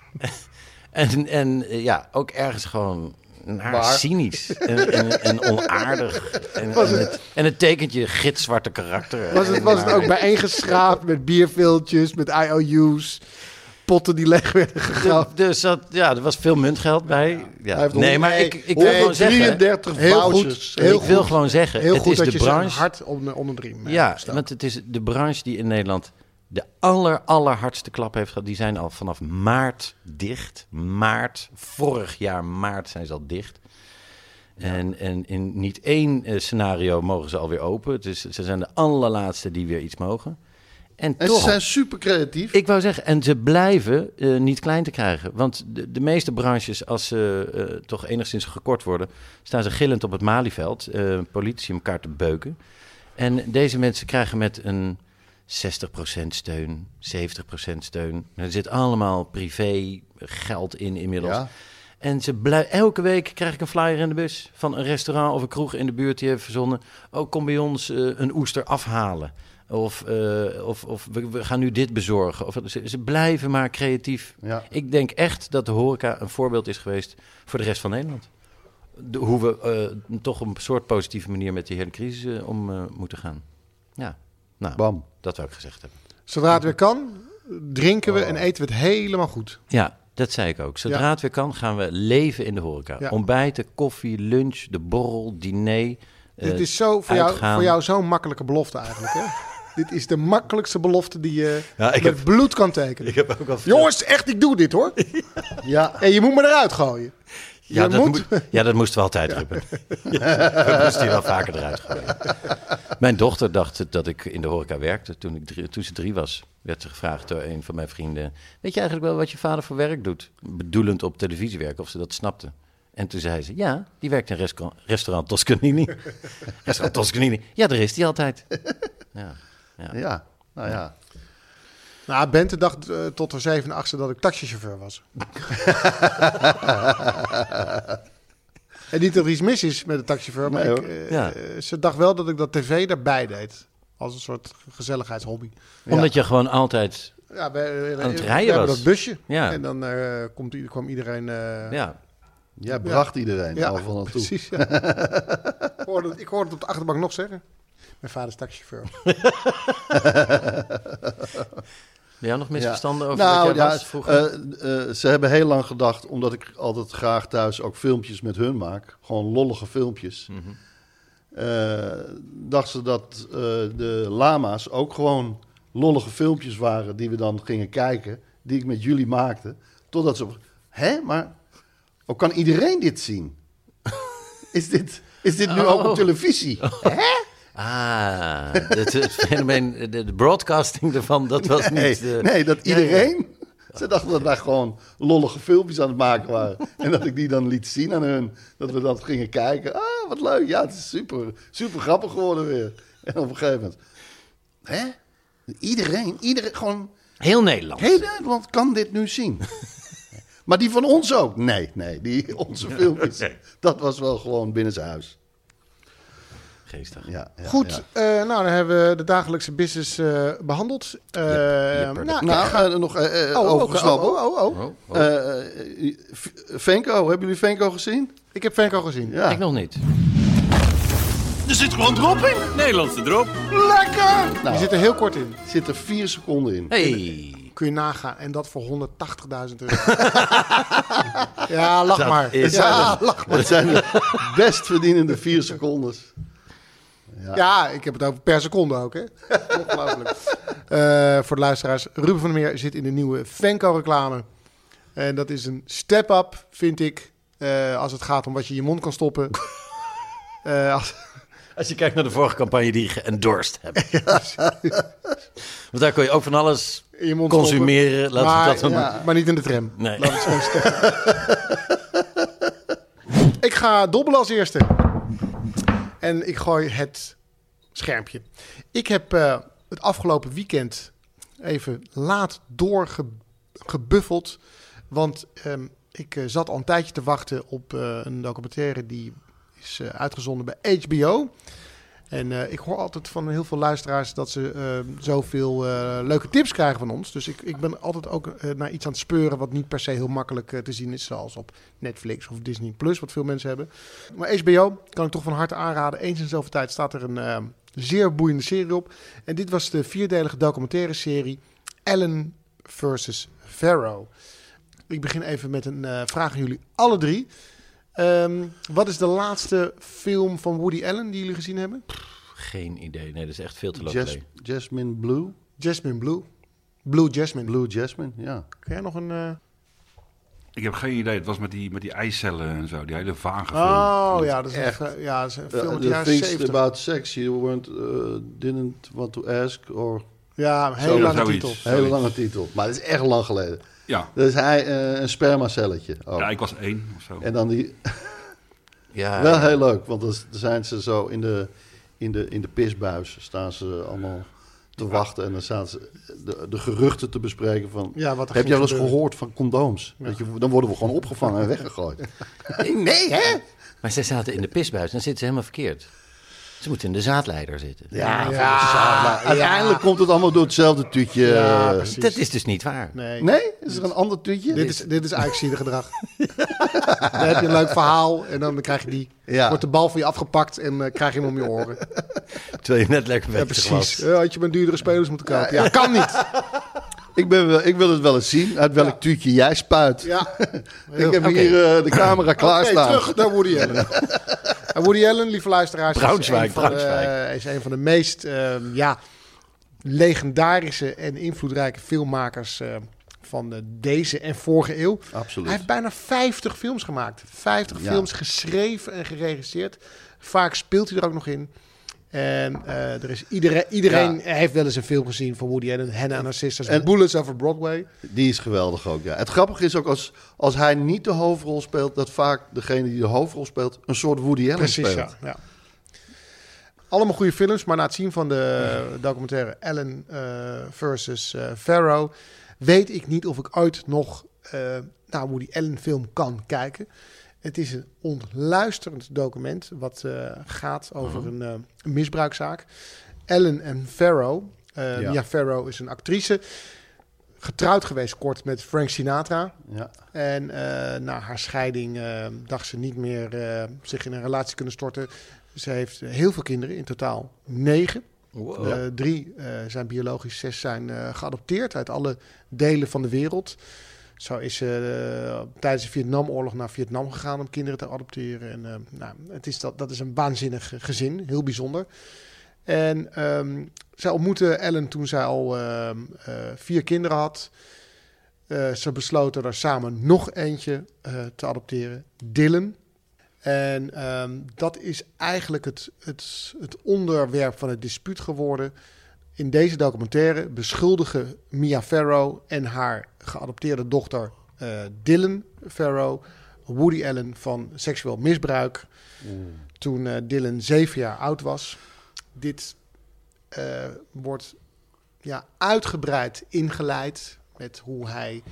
C: (laughs) en, en eh, ja, ook ergens gewoon naar
D: Waar?
C: cynisch en, en, en onaardig. En,
B: Was
C: en
B: het-
C: het, en het tekentje gitzwarte karakter.
B: Was het, was het ook bijeengeschraapt met bierviltjes, met IOU's, potten die leeg werden gegraven?
C: Dus dat, ja, er was veel muntgeld bij.
D: Hij
C: Ja.
D: heeft
C: Nee,
D: honderd-
C: maar ik, ik wil gewoon zeggen...
D: 133
B: Heel goed.
D: vouchers.
B: Heel
C: ik wil gewoon zeggen,
B: Heel
C: het
B: goed
C: is
B: dat
C: de
B: je
C: branche...
B: zo'n hart onder, onder de riem eh,
C: Ja,
B: staat.
C: want het is de branche die in Nederland de aller, allerhardste klap heeft gehad. Die zijn al vanaf maart dicht. Maart, vorig jaar maart zijn ze al dicht. En, en in niet één eh, scenario mogen ze alweer open. Dus ze zijn de allerlaatste die weer iets mogen. En,
D: En
C: toch,
D: ze zijn super creatief.
C: ik wou zeggen, en ze blijven eh, niet klein te krijgen. Want de, de meeste branches, als ze eh, toch enigszins gekort worden, staan ze gillend op het Malieveld, eh politici elkaar te beuken. En deze mensen krijgen met een 60% steun, 70% steun. Er zit allemaal privé geld in inmiddels.
D: Ja.
C: En ze blij- elke week krijg ik een flyer in de bus van een restaurant of een kroeg in de buurt die heeft verzonnen. Oh, kom bij ons eh, een oester afhalen. Of, eh, of, of we, we gaan nu dit bezorgen. Of, ze, ze blijven maar creatief.
D: Ja.
C: Ik denk echt dat de horeca een voorbeeld is geweest voor de rest van Nederland. De- hoe we eh, toch op een soort positieve manier met die hele crisis eh, om eh, moeten gaan. Ja, nou,
D: Bam.
C: dat wou ik gezegd hebben.
B: Zodra het weer kan, drinken
C: Oh.
B: we en eten we het helemaal goed.
C: Ja, dat zei ik ook. Zodra
B: Ja.
C: het weer kan, gaan we leven in de horeca.
B: Ja.
C: Ontbijten, koffie, lunch, de borrel, diner. eh,
B: Dit is zo voor, jou,
C: uitgaan.
B: voor jou zo'n makkelijke belofte eigenlijk.
C: (laughs)
B: Hè? Dit is de makkelijkste belofte die je
C: Ja, ik
B: met
C: heb-
B: bloed kan tekenen.
C: heb ook al
B: Jongens, echt, ik doe dit
C: (laughs)
B: hoor.
D: Ja.
B: En je moet me eruit gooien.
C: ja,
B: je
C: dat
B: moet-
C: moe- ja, dat moesten we altijd (laughs) roepen. We moesten hier wel vaker eruit gooien. Mijn dochter dacht dat ik in de horeca werkte. Toen, ik drie- toen ze drie was, werd ze gevraagd door een van mijn vrienden... Weet je eigenlijk wel wat je vader voor werk doet? Bedoelend op televisiewerk, of ze dat snapte. En toen zei ze, ja, die werkt in restaurant, restaurant Toscanini. (laughs) restaurant Toscanini. Ja, daar is die altijd. Ja.
D: Ja. Nou ja.
B: Nou, Bente dacht eh, tot haar 7 achtste dat ik taxichauffeur
C: (laughs)
B: was. en niet dat er iets mis is met de taxichauffeur, maar
D: Nee,
B: ik,
D: hoor.
B: eh,
C: Ja.
B: eh, ze dacht wel dat ik dat tv daarbij deed. Als een soort gezelligheidshobby.
C: Omdat je gewoon altijd...
B: Ja, we, we-
C: Aan het
B: we
C: rijden
B: hebben
C: was.
B: dat busje.
C: Ja.
B: En dan eh, komt, i- kwam iedereen... eh,
C: Ja,
D: Jij bracht iedereen
B: ja,
D: overal naartoe.
B: precies.
C: (laughs)
B: ja. ik, hoorde het, ik hoorde het op de achterbank nog zeggen. Mijn vader is taxichauffeur.
C: (laughs) ben jij nog misverstanden
D: Ja.
C: over
D: nou,
C: wat jij
D: ja,
C: was vroeger?
D: eh, eh, ze hebben heel lang gedacht, omdat ik altijd graag thuis ook filmpjes met hun maak. Gewoon lollige filmpjes.
C: Mhm.
D: eh, dachten ze dat eh, de lama's ook gewoon lollige filmpjes waren die we dan gingen kijken. Die ik met jullie maakte. Totdat ze... op- Hè, maar... Hoe kan iedereen dit
C: (laughs)
D: zien? is, dit, is dit nu
C: Oh.
D: ook op televisie?
C: (laughs) Ah, het, het fenomeen, de, de broadcasting ervan, dat was
D: Nee,
C: niet... eh,
D: nee, dat
C: ja, ja.
D: iedereen. Ze dachten dat daar gewoon lollige filmpjes aan het maken waren. En dat ik die dan liet zien aan hun. Dat we dat gingen kijken. Ah, wat leuk. Ja, het is super, super grappig geworden weer. En op een gegeven moment. Hè? Iedereen, iedereen, gewoon
C: Heel Nederland.
D: heel Nederland kan dit nu zien. Maar die van ons ook? Nee, nee, die onze
C: (laughs)
D: filmpjes. Dat was wel gewoon binnen zijn huis.
C: Geestig.
D: Ja, ja,
B: Goed,
D: ja.
B: eh, nou dan hebben we de dagelijkse business eh, behandeld. Eh,
C: Yep, yep.
B: nou,
D: Nou, eh, nog eh, eh, overgeslopen.
B: oh, oh, oh, oh.
C: Oh, oh.
D: Eh, eh, V- Venko, hebben jullie Venko gezien?
B: Ik heb Venko gezien.
D: Ja.
C: Ik nog niet.
F: Er zit gewoon drop in. Nederlandse drop.
D: Lekker! Nou,
B: Die zit er heel kort in.
D: zit er vier seconden in.
C: Hey,
B: Kun je nagaan. En dat voor 180.000
C: (laughs)
B: euro. ja, lach
C: Dat
B: maar.
C: is-
B: ja, lach maar.
D: Dat zijn de best verdienende vier seconden.
B: Ja, ik heb het over per seconde ook. Hè? Ongelooflijk. Eh, voor de luisteraars. Ruben van der Meer zit in de nieuwe Venko-reclame. En dat is een step-up, vind ik. eh, als het gaat om wat je in je mond kan
C: (laughs)
B: stoppen. Eh, als,
C: als je kijkt naar de vorige campagne die je geëndorsed
D: (laughs)
C: hebt. Want daar kon je ook van alles
B: in je mond
C: consumeren.
B: stoppen.
C: Laten
B: maar,
C: we dat dan...
B: ja, maar niet in de tram.
C: Nee.
B: Ik ga dobbelen als eerste. En ik gooi het schermpje. Ik heb eh, het afgelopen weekend even laat doorgebuffeld. Want ehm, ik eh, zat al een tijdje te wachten op eh, een documentaire die is eh, uitgezonden bij HBO. En eh, ik hoor altijd van heel veel luisteraars dat ze eh, zoveel eh, leuke tips krijgen van ons. Dus ik, ik ben altijd ook eh, naar iets aan het speuren wat niet per se heel makkelijk eh, te zien is. Zoals op Netflix of Disney Plus, wat veel mensen hebben. Maar HBO kan ik toch van harte aanraden. Eens in zoveel tijd staat er een eh, zeer boeiende serie op. En dit was de vierdelige documentaire serie Ellen versus Pharaoh. Ik begin even met een eh, vraag aan jullie alle drie. Ehm, wat is de laatste film van Woody Allen die jullie gezien hebben?
C: Geen idee. Nee, dat is echt veel te lang
D: Jas-
C: geleden.
D: Jasmine Blue.
B: Jasmine Blue. Blue Jasmine.
D: Blue Jasmine, ja.
B: Kun jij nog een... eh,
E: Ik heb geen idee. Het was met die, met die eicellen en zo. Die hele vage film.
B: Oh ja, dat is
D: Echt.
B: een, ja, dat is een
D: Ja,
B: film uit de
D: the
B: jaren
D: Eh, things
B: 70.
D: about sex you weren't, eh, didn't want to ask. Or,
B: Ja, een hele
E: Zo,
B: lange
E: zoiets.
B: titel.
D: hele lange titel. Maar dat is echt lang geleden.
E: Ja.
D: Dat is hij, eh, een spermacelletje. ook.
E: ja, ik was één of zo.
D: En dan die...
C: Ja,
D: Wel heel leuk, want dan zijn ze zo in de, in de, in de pisbuis. Staan ze allemaal te wachten en dan staan ze de, de geruchten te bespreken van...
B: Ja, wat er
D: heb
B: ging
D: jij wel eens
B: gebeuren.
D: gehoord van condooms? Dat je, dan worden we gewoon opgevangen en
B: (laughs)
D: weggegooid. nee, hè?
C: maar zij zaten in de pisbuis. Dan zitten ze helemaal verkeerd. Ze moeten in de zaadleider zitten.
D: Ja, van de zaal, maar eh, uiteindelijk komt het allemaal door hetzelfde tuutje.
B: Ja, precies.
C: Dat is dus niet waar.
B: Nee.
D: nee? Is er een ander tuutje?
B: Dit is, dit is eigenlijk gedrag. (laughs) Dan heb je een leuk verhaal en dan krijg je die.
D: Ja.
B: Wordt de bal van je afgepakt en eh, krijg je hem om je oren.
C: Terwijl je net lekker bezig
B: Ja, precies. Ja, had je maar duurdere spelers moeten kopen. Ja, kan niet.
D: Ik, ben wel, ik wil het wel eens zien uit welk tuutje jij spuit.
B: Ja.
D: Ik heb
C: Oké.
D: hier eh, de camera
B: (laughs) Oké,
D: klaarstaan.
B: terug naar Woody
D: (laughs)
B: Allen. en Woody Allen, lieve luisteraars,
C: Braunschweig,
B: is, een van de, eh,
C: Braunschweig.
B: is een van de meest ehm, ja, legendarische en invloedrijke filmmakers eh, van eh, deze en vorige eeuw.
D: Absoluut.
B: Hij heeft bijna 50 films gemaakt. 50
D: Ja.
B: films geschreven en geregisseerd. Vaak speelt hij er ook nog in. En eh, er is iedereen, iedereen heeft wel eens een film gezien van Woody Allen. Hannah and her sisters.
D: En-
B: Bullets over Broadway.
D: Die is geweldig ook, ja. Het grappige is ook als, als hij niet de hoofdrol speelt... dat vaak degene die de hoofdrol speelt een soort Woody Allen
B: Precies, ja,
D: speelt.
B: ja. Allemaal goede films, maar na het zien van de eh, documentaire Ellen eh, versus eh Pharaoh... weet ik niet of ik ooit nog eh naar Woody Allen film kan kijken. Het is een ontluisterend document wat eh, gaat over een eh, misbruikzaak. Ellen en Pharaoh. eh
D: Ja.
B: Mia Farrow is een actrice. Getrouwd geweest kort met Frank Sinatra.
D: Ja.
B: En eh, na haar scheiding eh, dacht ze niet meer eh, zich in een relatie kunnen storten. Ze heeft heel veel kinderen, in totaal negen.
C: Wow.
B: Eh, drie eh, zijn biologisch, zes zijn eh, geadopteerd uit alle delen van de wereld. Zo is ze eh, tijdens de Vietnamoorlog naar Vietnam gegaan om kinderen te adopteren. En, eh, nou, het is dat, dat is een waanzinnig gezin, heel bijzonder. En ehm, zij ontmoette Ellen toen zij al ehm, eh, vier kinderen had. Eh, ze besloten er samen nog eentje eh, te adopteren, Dylan. En ehm, dat is eigenlijk het, het, het onderwerp van het dispuut geworden. In deze documentaire beschuldigen Mia Farrow en haar geadopteerde dochter eh, Dylan Farrow Woody Allen van seksueel misbruik. Toen eh, Dylan zeven jaar oud was. Dit eh, wordt ja, uitgebreid ingeleid met hoe hij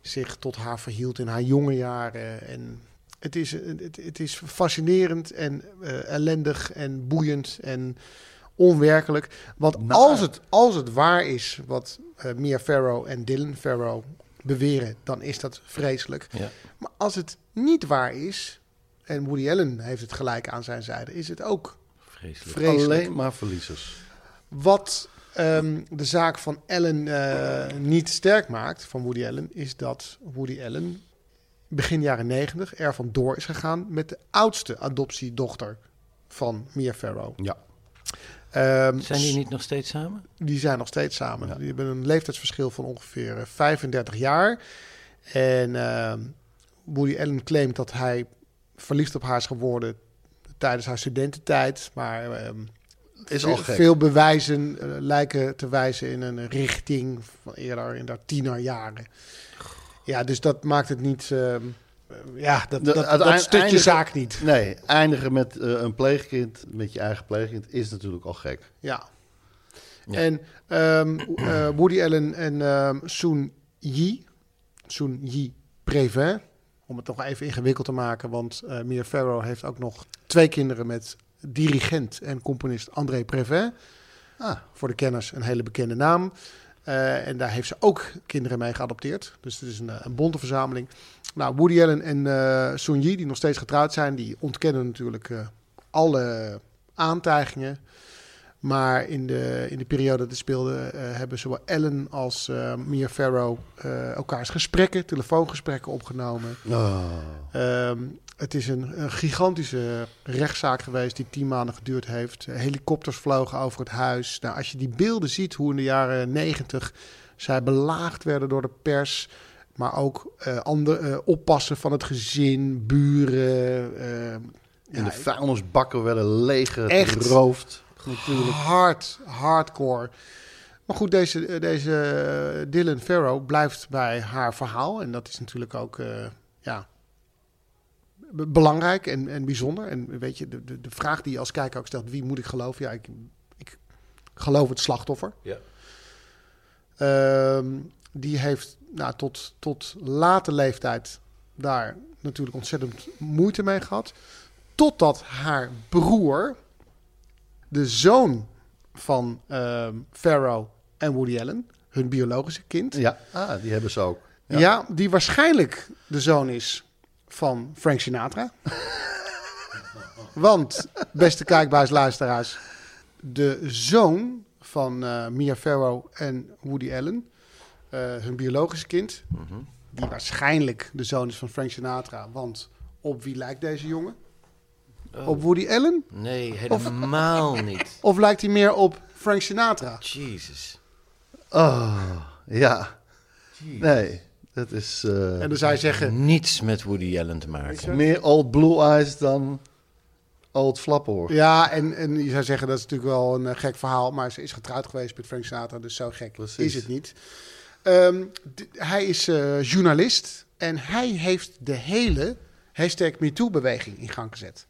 B: zich tot haar verhield in haar jonge jaren. En het is, het, het is fascinerend en eh, ellendig en boeiend en onwerkelijk. Want als, het, als het waar is wat eh, Mia Farrow en Dylan Farrow beweren, dan is dat vreselijk.
C: Ja.
B: Maar als het niet waar is, en Woody Allen heeft het gelijk aan zijn zijde, is het ook
C: Vreselijk.
B: vreselijk.
D: Alleen maar verliezers.
B: Wat ehm, de zaak van Allen eh, niet sterk maakt, van Woody Allen, is dat Woody Allen begin jaren negentig er vandoor is gegaan met de oudste adoptiedochter van Mia Farrow.
D: Ja.
B: Ehm,
C: Zijn die niet nog steeds samen?
B: die zijn nog steeds samen. Die hebben een leeftijdsverschil van ongeveer eh, 35 jaar. En ehm, Woody Allen claimt dat hij verliefd op haar is geworden tijdens haar studententijd. Maar ehm,
D: Is
B: veel,
D: al gek.
B: veel bewijzen eh, lijken te wijzen in een richting van eerder in de tienerjaren. Ja, dus dat maakt het niet... ehm, eh, ja, dat,
D: De-
B: dat, dat
D: uiteind-
B: stukje
D: eindigen-
B: zaak niet.
D: Nee, eindigen met eh, een pleegkind, met je eigen pleegkind, is natuurlijk al gek.
B: Ja. En ehm, eh, Woody Allen en ehm Soon Yi, Soon Yi Prévin, om het nog even ingewikkeld te maken, want eh Mia Farrow heeft ook nog twee kinderen met dirigent en componist André Prévin. Voor de kenners een hele bekende naam. Eh, en daar heeft ze ook kinderen mee geadopteerd. Dus het is een, eh, een bonte verzameling. Nou, Woody Allen en eh Sun Yi, die nog steeds getrouwd zijn, die ontkennen natuurlijk eh, alle aantijgingen. Maar in de, in de periode dat het speelde, eh, hebben zowel Ellen als eh Mia Farrow eh, elkaars gesprekken, telefoongesprekken opgenomen.
D: Oh.
B: Ehm, het is een, een gigantische rechtszaak geweest die tien maanden geduurd heeft. Helikopters vlogen over het huis. Nou, als je die beelden ziet, hoe in de jaren negentig zij belaagd werden door de pers. Maar ook eh ander, eh, oppassen van het gezin, buren. eh,
D: In de
B: ja,
D: vuilnisbakken werden leeg
B: Echt?
D: geroofd.
B: Hard, hardcore. Maar goed, deze, deze Dylan Farrow blijft bij haar verhaal. En dat is natuurlijk ook eh, ja, b- belangrijk en, en bijzonder. En weet je, de, de, de vraag die je als kijker ook stelt, wie moet ik geloven? Ja, ik, ik geloof het slachtoffer.
C: Ja.
B: Ehm, die heeft nou, tot, tot late leeftijd daar natuurlijk ontzettend moeite mee gehad. Totdat haar broer, de zoon van ehm Pharaoh en Woody Allen, hun biologische kind. Ja.
D: Ja, ah, die hebben ze ook. Ja.
B: die waarschijnlijk de zoon is van Frank Sinatra. (laughs) Want, beste kijkbuisluisteraars, de zoon van eh, Mia Farrow en Woody Allen, eh, hun biologische kind,
D: Mhm.
B: die waarschijnlijk de zoon is van Frank Sinatra. Want op wie lijkt deze jongen?
D: Eh.
B: Op Woody Allen?
C: Nee, helemaal niet.
B: Of lijkt hij meer op Frank Sinatra?
C: Jezus.
D: Oh, ja. Nee, dat is eh,
B: En dan zou je zeggen,
C: Niets met Woody Allen te maken.
D: meer old blue eyes dan old flapper.
B: ja, en, en je zou zeggen dat is natuurlijk wel een eh, gek verhaal, maar ze is getrouwd geweest met Frank Sinatra, dus zo gek
D: Precies.
B: is het niet. Ehm, d- hij is eh, journalist en hij heeft de hele hashtag MeToo-beweging in gang gezet.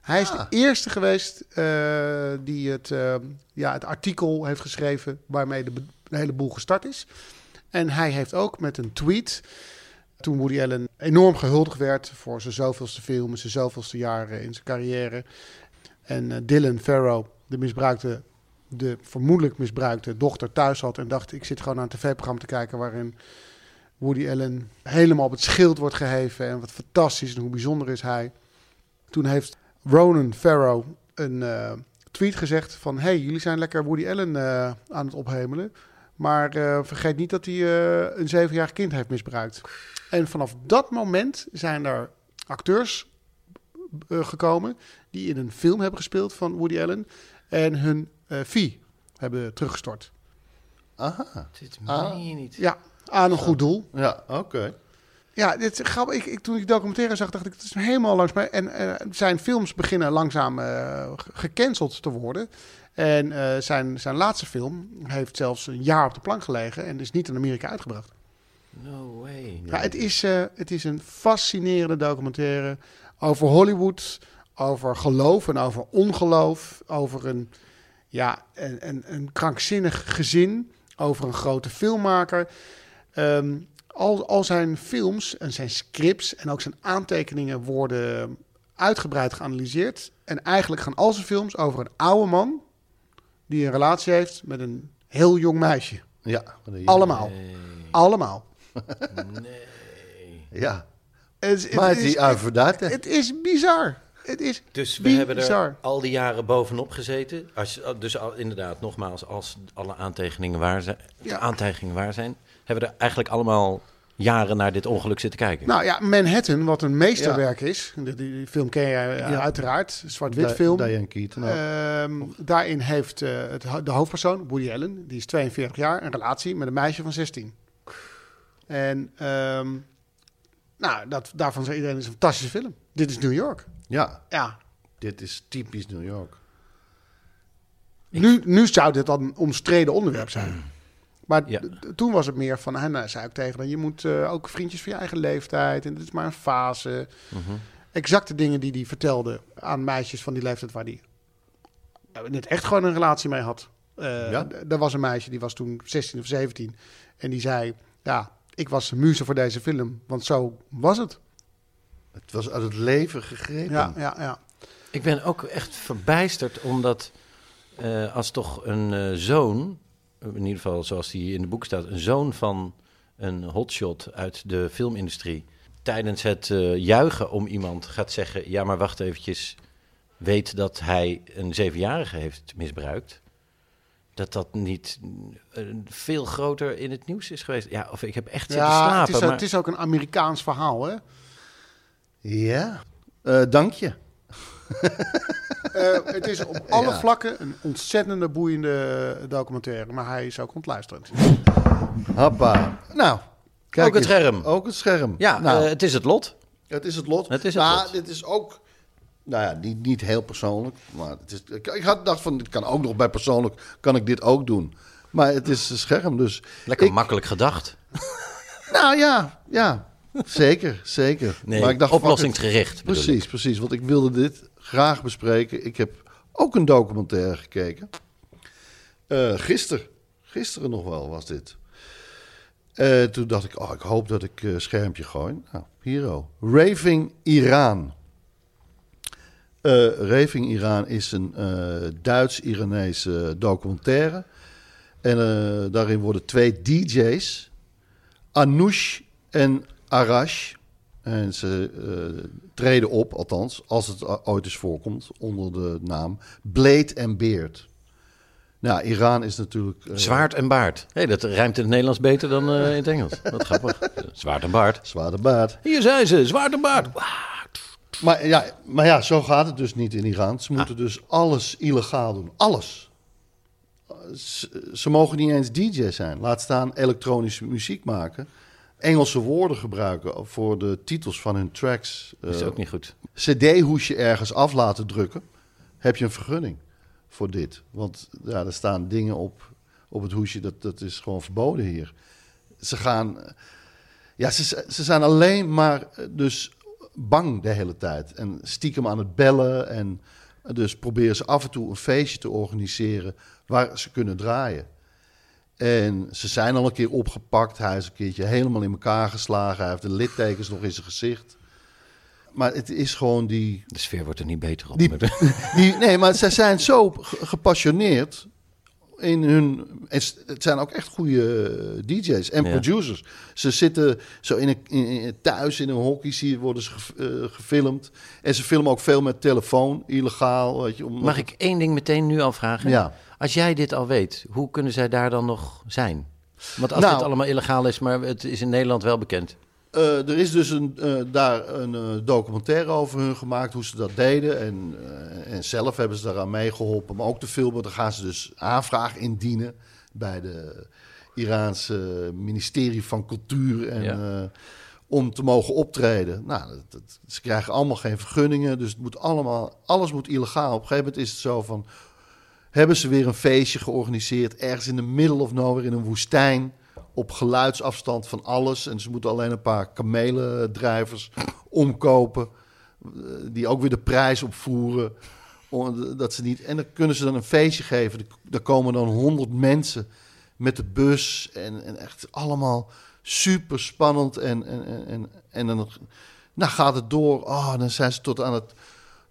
B: Hij is de eerste geweest eh, die het, eh, ja, het artikel heeft geschreven waarmee de, be- de hele boel gestart is. En hij heeft ook met een tweet, toen Woody Allen enorm gehuldigd werd voor zijn zoveelste film, en zijn zoveelste jaren in zijn carrière. En eh, Dylan Farrow, de misbruikte, de vermoedelijk misbruikte dochter thuis had en dacht, ik zit gewoon naar een tv-programma te kijken waarin Woody Allen helemaal op het schild wordt geheven en wat fantastisch en hoe bijzonder is hij. Toen heeft Ronan Farrow een eh, tweet gezegd van... hey, jullie zijn lekker Woody Allen eh, aan het ophemelen... maar eh, vergeet niet dat hij eh, een zevenjarig kind heeft misbruikt. En vanaf dat moment zijn er acteurs eh, gekomen... die in een film hebben gespeeld van Woody Allen... en hun eh fee hebben teruggestort.
D: Aha,
C: Dit
B: Ah.
C: meen je niet.
B: Ja, aan een goed doel.
D: ja, oké.
B: Ja, dit is grappig. Ik, ik, toen ik die documentaire zag, dacht ik, het is helemaal langs mij. En eh, zijn films beginnen langzaam eh, ge- gecanceld te worden. En eh, zijn, zijn laatste film heeft zelfs een jaar op de plank gelegen en is niet in Amerika uitgebracht.
C: No way.
B: Ja, het, is, eh, het is een fascinerende documentaire over Hollywood, over geloof en over ongeloof, over een, ja, een, een, een krankzinnig gezin, over een grote filmmaker. Ehm, al, al zijn films en zijn scripts en ook zijn aantekeningen worden uitgebreid geanalyseerd. En eigenlijk gaan al zijn films over een oude man die een relatie heeft met een heel jong meisje.
D: Ja, maar die-
B: Allemaal. Allemaal.
D: Ja,
B: Het, is- het
D: maar
B: is-
D: die Aphrodite.
B: Het is bizar. Het is
C: Dus we hebben
B: bizar.
C: er al die jaren bovenop gezeten. Als, dus al- inderdaad, nogmaals, als alle aantekeningen waar zijn,
B: Ja.
C: aantekeningen waar zijn, hebben we er eigenlijk allemaal jaren naar dit ongeluk zitten kijken.
B: Nou ja, Manhattan, wat een meesterwerk is. Die, die film ken jij eh, uiteraard. Een Zwart-wit
D: Di-
B: film.
D: Diane Keaton. ook.
B: Ehm, daarin heeft eh, het, ho- de hoofdpersoon, Woody Allen, die is 42 jaar, een relatie met een meisje van 16. En ehm, nou, dat, daarvan zei iedereen, het is een fantastische film. Dit is New York.
D: ja,
B: Ja,
D: dit is typisch New York.
B: Nu, nu zou dit dan een omstreden onderwerp zijn. Maar
C: Ja.
B: d- d- toen was het meer van, hij nou, zei ook tegen hem, je moet eh, ook vriendjes van je eigen leeftijd en dit is maar een fase.
C: Mhm.
B: Exacte dingen die hij vertelde aan meisjes van die leeftijd waar hij eh, net echt gewoon een relatie mee had. Eh
D: Ja.
B: d- Er was een meisje, die was toen 16 of 17 en die zei, ja, ik was de muze voor deze film, want zo was het.
D: Het was uit het leven gegrepen.
B: Ja, ja, ja.
C: Ik ben ook echt verbijsterd, omdat eh, als toch een eh, zoon, in ieder geval zoals die in de boek staat, een zoon van een hotshot uit de filmindustrie, tijdens het eh, juichen om iemand gaat zeggen, ja maar wacht eventjes, weet dat hij een zevenjarige heeft misbruikt. Dat dat niet eh, veel groter in het nieuws is geweest. Ja, of ik heb echt zitten slapen.
B: het, is, eh,
C: maar...
B: het is ook een Amerikaans verhaal, hè?
D: Ja, Eh, dank je.
B: Eh, het is op alle vlakken een ontzettende boeiende eh, documentaire. Maar hij is ook ontluisterend.
D: Happa. Nou, kijk
C: Ook het
D: eens.
C: scherm.
D: Ook het scherm.
C: Ja,
D: nou,
C: eh, het is het lot.
D: het is het lot.
C: het is het
D: maar
C: lot.
D: dit is ook, nou ja, niet, niet heel persoonlijk. Maar het is, ik, ik had gedacht van, dit kan ook nog bij persoonlijk, kan ik dit ook doen. Maar het is een scherm, dus...
C: Lekker
D: ik-
C: makkelijk gedacht.
D: Nou ja, ja. Zeker, zeker.
C: Nee,
D: maar ik dacht, fuck it.
C: oplossingsgericht bedoel
D: Precies, precies. Want ik wilde dit graag bespreken. Ik heb ook een documentaire gekeken. Eh gisteren. Gisteren nog wel was dit. Eh, toen dacht ik, oh, ik hoop dat ik eh schermpje gooi. Nou, hier al. Raving Iran. Eh, Raving Iran is een eh, Duits-Iranese documentaire. En eh, daarin worden twee DJ's, Anoush en Arash. En ze eh, treden op, althans, als het o- ooit eens voorkomt, onder de naam Blade and Beard. Nou, Iran is natuurlijk... eh,
C: Zwaard en baard. Hé, dat rijmt in het Nederlands beter dan eh, in het Engels. Wat grappig. Zwaard en baard.
D: Zwaar de baard.
C: Hier zijn ze, zwaard en baard.
D: Maar ja, maar ja, zo gaat het dus niet in Iran.
C: Ah.
D: Ze moeten dus alles illegaal doen. Alles. Ze, ze mogen niet eens DJ zijn. Laat staan elektronische muziek maken. Engelse woorden gebruiken voor de titels van hun tracks.
C: Dat is
D: Eh,
C: ook niet goed.
D: CD-hoesje ergens af laten drukken. Heb je een vergunning voor dit? Want ja, er staan dingen op, op het hoesje, dat, dat is gewoon verboden hier. Ze gaan. eh, Ja, ze, ze zijn alleen maar eh, dus bang de hele tijd. En stiekem aan het bellen. En dus proberen ze af en toe een feestje te organiseren waar ze kunnen draaien. En ze zijn al een keer opgepakt. Hij is een keertje helemaal in elkaar geslagen. Hij heeft de littekens nog in zijn gezicht. Maar het is gewoon die
C: De sfeer wordt er niet beter op.
D: die,
C: Met-
D: (laughs) die- nee, maar zij zijn zo ge- gepassioneerd in hun. en s- Het zijn ook echt goede eh, DJ's en
C: Ja.
D: producers. Ze zitten zo in een, in, in- thuis in een hockey, zie je, worden ze ge- eh, gefilmd. En ze filmen ook veel met telefoon, illegaal. Weet je, om,
C: (laughs) Mag ik één ding meteen nu al vragen?
D: Ja.
C: Als jij dit al weet, hoe kunnen zij daar dan nog zijn? Want als
D: Nou.
C: dit allemaal illegaal is, maar het is in Nederland wel bekend.
D: Eh, er is dus een, eh, daar een eh, documentaire over hun gemaakt, hoe ze dat deden. En, eh, en zelf hebben ze daaraan meegeholpen, maar ook te filmen. Daar gaan ze dus aanvraag indienen bij de Iraanse ministerie van Cultuur. En,
C: Ja.
D: eh, om te mogen optreden. Nou, dat, dat- ze krijgen allemaal geen vergunningen, dus het moet allemaal, alles moet illegaal. Op een gegeven moment is het zo van, hebben ze weer een feestje georganiseerd. Ergens in de middle of nowhere in een woestijn. Op geluidsafstand van alles. En ze moeten alleen een paar kamelendrijvers omkopen. eh, Die ook weer de prijs opvoeren. om- Dat ze niet, en dan kunnen ze dan een feestje geven. Er- Daar komen dan honderd mensen met de bus. En, en echt allemaal super spannend. En, en, en, en, en dan, nou gaat het door. Oh, dan zijn ze tot aan het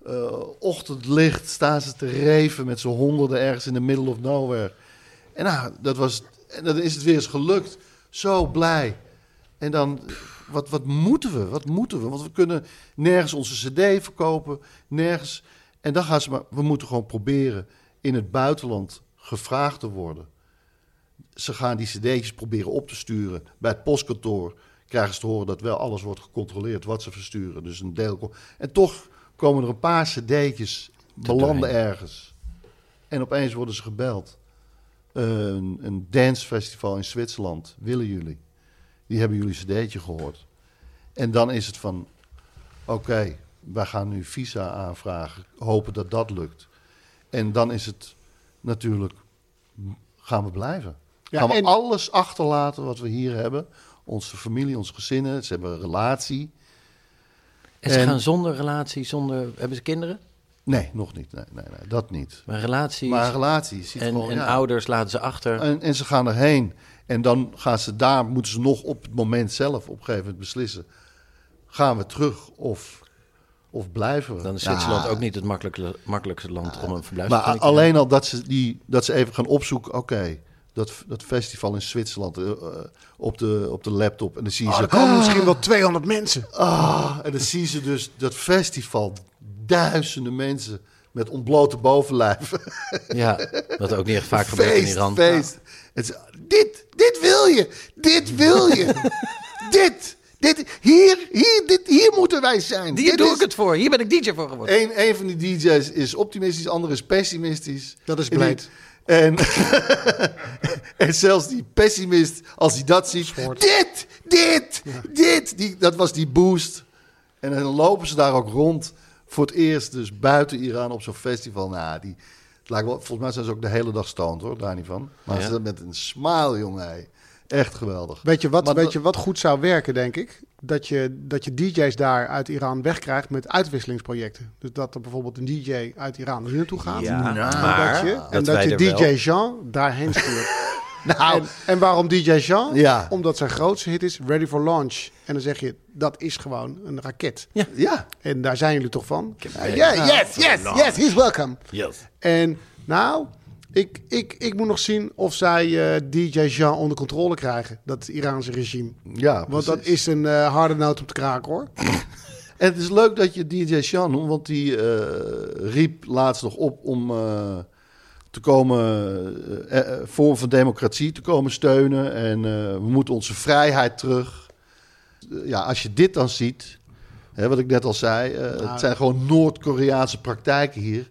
D: eh, ochtendlicht staan ze te reven met z'n honderden ergens in de middle of nowhere. En nou, dat was, en dan is het weer eens gelukt. Zo blij. En dan, wat, wat moeten we? Wat moeten we? Want we kunnen nergens onze cd verkopen, nergens. En dan gaan ze maar, we moeten gewoon proberen in het buitenland gevraagd te worden. Ze gaan die cd'tjes proberen op te sturen. Bij het postkantoor krijgen ze te horen dat wel alles wordt gecontroleerd wat ze versturen. Dus een deel... ko- En toch komen er een paar cd'tjes, belanden ergens. En opeens worden ze gebeld. Eh, een, een dancefestival in Zwitserland, willen jullie? Die hebben jullie cd'tje gehoord. En dan is het van, oké, wij gaan nu visa aanvragen. Hopen dat dat lukt. En dan is het natuurlijk, m- gaan we blijven.
B: Ja,
D: gaan we
B: en-
D: alles achterlaten wat we hier hebben. Onze familie, onze gezinnen, ze hebben een relatie.
C: En ze
D: En-
C: gaan zonder relatie, zonder... Hebben ze kinderen?
D: Nee, nog niet. Nee, nee, nee dat niet.
C: Maar relaties
D: Maar relaties. ziet
C: en,
D: gewoon,
C: en
D: ja.
C: ouders laten ze achter.
D: En, en ze gaan erheen. En dan gaan ze daar, moeten ze nog op het moment zelf op een gegeven moment beslissen. Gaan we terug of, Of blijven we?
C: Dan is
D: Nou,
C: Zwitserland ook niet het makkelijkste, makkelijkste land om een
D: Maar
C: verblijfsvergunning te
D: alleen al dat ze, die, dat ze even gaan opzoeken, oké, dat, dat festival in Zwitserland eh, eh, op, de, op de laptop. En dan zie je
B: Oh,
D: ze,
B: er komen misschien wel 200 mensen.
D: ah, en dan zien ze dus dat festival, duizenden mensen met ontblote bovenlijven.
C: Ja, wat ook niet echt
D: (laughs)
C: vaak gebeurt in
D: feest,
C: Iran.
D: feest. Het is, dit, dit wil je, dit wil
C: (laughs)
D: je, dit, dit, hier, hier, dit, hier moeten wij zijn.
C: Hier
D: dit
C: doe
D: is-
C: ik het voor. Hier ben ik DJ voor geworden.
D: Eén één van die DJ's is optimistisch, ander is pessimistisch.
B: Dat is
D: En die-
B: Blade.
D: En, (laughs) en zelfs die pessimist, als hij dat ziet. Dit, dit, dit. Die, dat was die boost. En dan lopen ze daar ook rond. Voor het eerst dus buiten Iran op zo'n festival. Nou, die, het lijkt wel, volgens mij zijn ze ook de hele dag stoned hoor, daar niet van. Maar
C: Ja.
D: ze met een smile, jongen. hé. Echt geweldig.
B: Weet je wat,
D: Maar
B: weet
D: dat-
B: je wat goed zou werken, denk ik? Dat je, dat je DJ's daar uit Iran wegkrijgt met uitwisselingsprojecten. Dus dat er bijvoorbeeld een DJ uit Iran hier naartoe gaat.
C: Ja,
B: en
C: maar
B: dat je, en
C: dat
B: dat
C: wij
B: je
C: er
B: DJ
C: wel-
B: Jean daarheen
C: (laughs)
B: stuurt.
D: Nou,
B: en, en waarom DJ Jean?
D: Ja.
B: Omdat zijn grootste hit is Ready for Launch. En dan zeg je, dat is gewoon een raket.
D: ja.
B: En daar zijn jullie toch van? Ja,
C: heb-
B: yeah, yes, yes, yes, he's welcome.
C: Yes.
B: En nou, ik, ik, ik moet nog zien of zij eh, DJ Jean onder controle krijgen, dat Iraanse regime.
D: Ja,
B: Want dat
D: precies.
B: is een eh, harde noot om te kraken hoor.
D: (laughs) En het is leuk dat je DJ Sean noemt, want die eh, riep laatst nog op om eh, te komen, eh, eh, vorm van democratie te komen steunen. En eh, we moeten onze vrijheid terug. Eh, ja, als je dit dan ziet, hè, wat ik net al zei, eh, het zijn gewoon Noord-Koreaanse praktijken hier.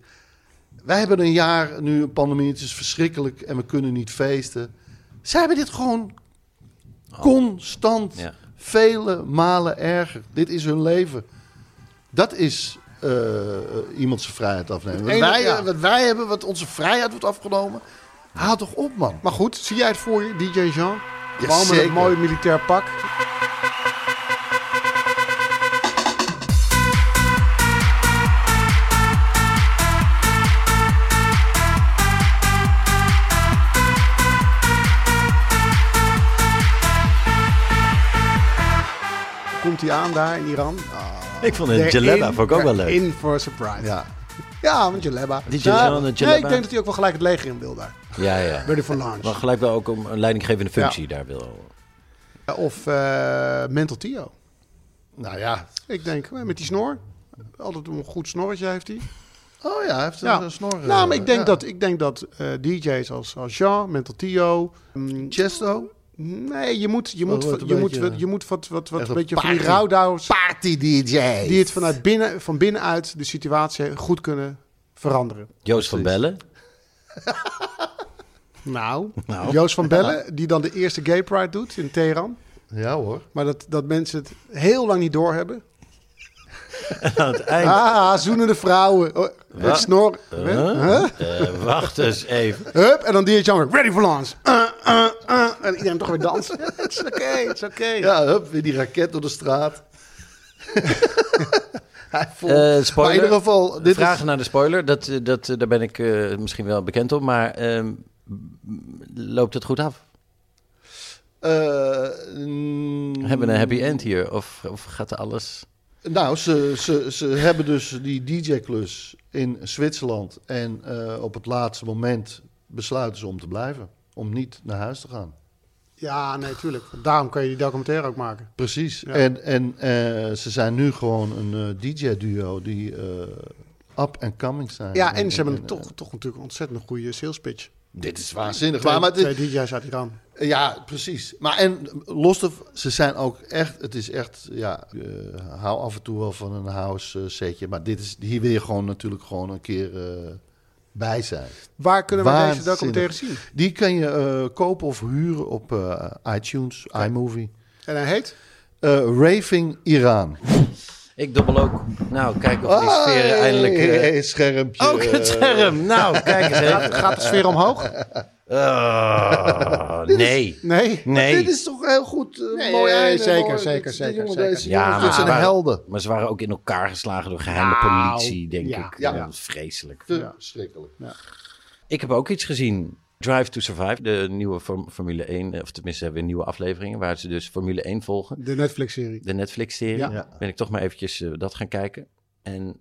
D: Wij hebben een jaar nu een pandemie, het is verschrikkelijk en we kunnen niet feesten. Zij hebben dit gewoon constant,
C: Ja.
D: vele malen erger. Dit is hun leven. Dat is eh, iemand zijn vrijheid afnemen. Wat
B: enige,
D: wij, eh,
B: ja.
D: wat wij hebben, wat onze vrijheid wordt afgenomen. Haal toch op, man.
B: Maar goed, zie jij het voor je, DJ Jean? Gewoon met
D: zeker.
B: een mooi militair pak. Komt hij aan daar in Iran?
C: Ik vond een Jalella vond ik ook wel leuk.
B: In for a surprise.
D: Ja.
B: Ja, want Jaleba.
C: Die Jalaba,
B: Ja,
C: de
B: Nee,
C: Jalaba.
B: ik denk dat hij ook wel gelijk het leger in wil daar.
C: Ja, ja.
B: Ready for launch.
C: Maar gelijk wel ook om een leidinggevende functie daar wil.
B: Of eh, Mental Tio.
D: Nou ja.
B: Ik denk, eh, met die snor. Altijd een goed snorretje heeft hij.
D: Oh ja, hij heeft een
B: Ja.
D: eh, snor. eh,
B: nou, maar ik denk
D: ja.
B: dat, ik denk dat eh, DJ's als, als Jean, Mental Tio... mm,
D: Chesto,
B: nee, je moet, je moet,
D: wordt
B: je
D: een
B: moet,
D: beetje-
B: je moet wat, wat, wat
D: Echt
B: een
D: een
B: beetje van die
D: party.
B: rouwdouwers...
D: party DJ.
B: die het vanuit binnen, van binnenuit de situatie goed kunnen veranderen.
C: Joost van Bellen.
B: Nou, Joost
D: (laughs)
B: van Bellen, die dan de eerste Gay Pride doet in Teheran.
D: Ja hoor.
B: Maar dat, dat mensen het heel lang niet doorhebben.
C: Aan het eind.
B: Ah, zoenende vrouwen. Oh, het snor. Huh?
C: Eh, wacht eens even.
B: Hup, en dan die het jammer. Ready for launch. Eh, eh, eh. En iedereen toch weer dansen. Het is oké, het is oké.
D: Ja, hup, weer die raket door de straat. hij voelt...
C: Eh,
D: maar in
C: spoiler.
D: ieder geval, dit
C: Vragen
D: is...
C: naar de spoiler. Dat, eh, dat, eh, daar ben ik eh, misschien wel bekend op. Maar ehm, m- loopt het goed af?
D: eh, mm,
C: Hebben we een happy end hier? Of, of gaat er alles...
D: Nou, ze, ze, ze hebben dus die DJ-klus in Zwitserland. En eh, op het laatste moment besluiten ze om te blijven. Om niet naar huis te gaan.
B: Ja, nee, tuurlijk. Daarom kan je die documentaire ook maken.
D: Precies. En, en eh, ze zijn nu gewoon een eh, DJ-duo die eh up and coming zijn.
B: Ja, en ze hebben een toch, toch natuurlijk een ontzettend goede sales pitch.
D: eh, Dit is waanzinnig.
B: Twee,
D: Maar, maar het is-
B: twee DJ's uit Iran.
D: Ja, precies. Maar en los de, ze zijn ook echt, het is echt, ja, eh, hou af en toe wel van een house eh, setje. Maar dit is, hier wil je gewoon natuurlijk gewoon een keer eh, bij zijn.
B: Waar kunnen we
D: Waanzinnig.
B: deze documentaire zien?
D: Die kan je eh, kopen of huren op eh, iTunes, iMovie.
B: En hij heet?
D: Eh, Raving Iran.
C: Ik dobbel ook. Nou, kijk of die sfeer eindelijk... eh,
D: Hey, schermpje.
C: ook (laughs) het scherm. Nou, kijk eens
B: Gaat,
C: even.
B: gaat de sfeer omhoog?
C: Oh, nee.
B: Nee.
D: Dit
C: Nee.
D: is toch heel goed. eh,
B: Nee,
D: mooi einde,
B: zeker,
D: mooi.
B: zeker,
D: Dit-
B: zeker,
D: jongen,
B: zeker.
D: Deze,
C: Ja,
D: jongens,
C: maar
D: dit zijn
C: waar-
D: helden.
C: Maar ze waren ook in elkaar geslagen door geheime
B: Nou,
C: politie, denk
B: ja. Dus-
C: ik.
D: Ja.
C: Ja. Vreselijk.
D: Verschrikkelijk.
C: Ik heb ook iets gezien. Drive to Survive, de nieuwe Form- Formule 1, of tenminste hebben we nieuwe afleveringen waar ze dus Formule 1 volgen.
B: De Netflix-serie.
C: De Netflix-serie.
B: Ja.
D: Ja.
C: Ben ik toch maar eventjes eh, dat gaan kijken. En,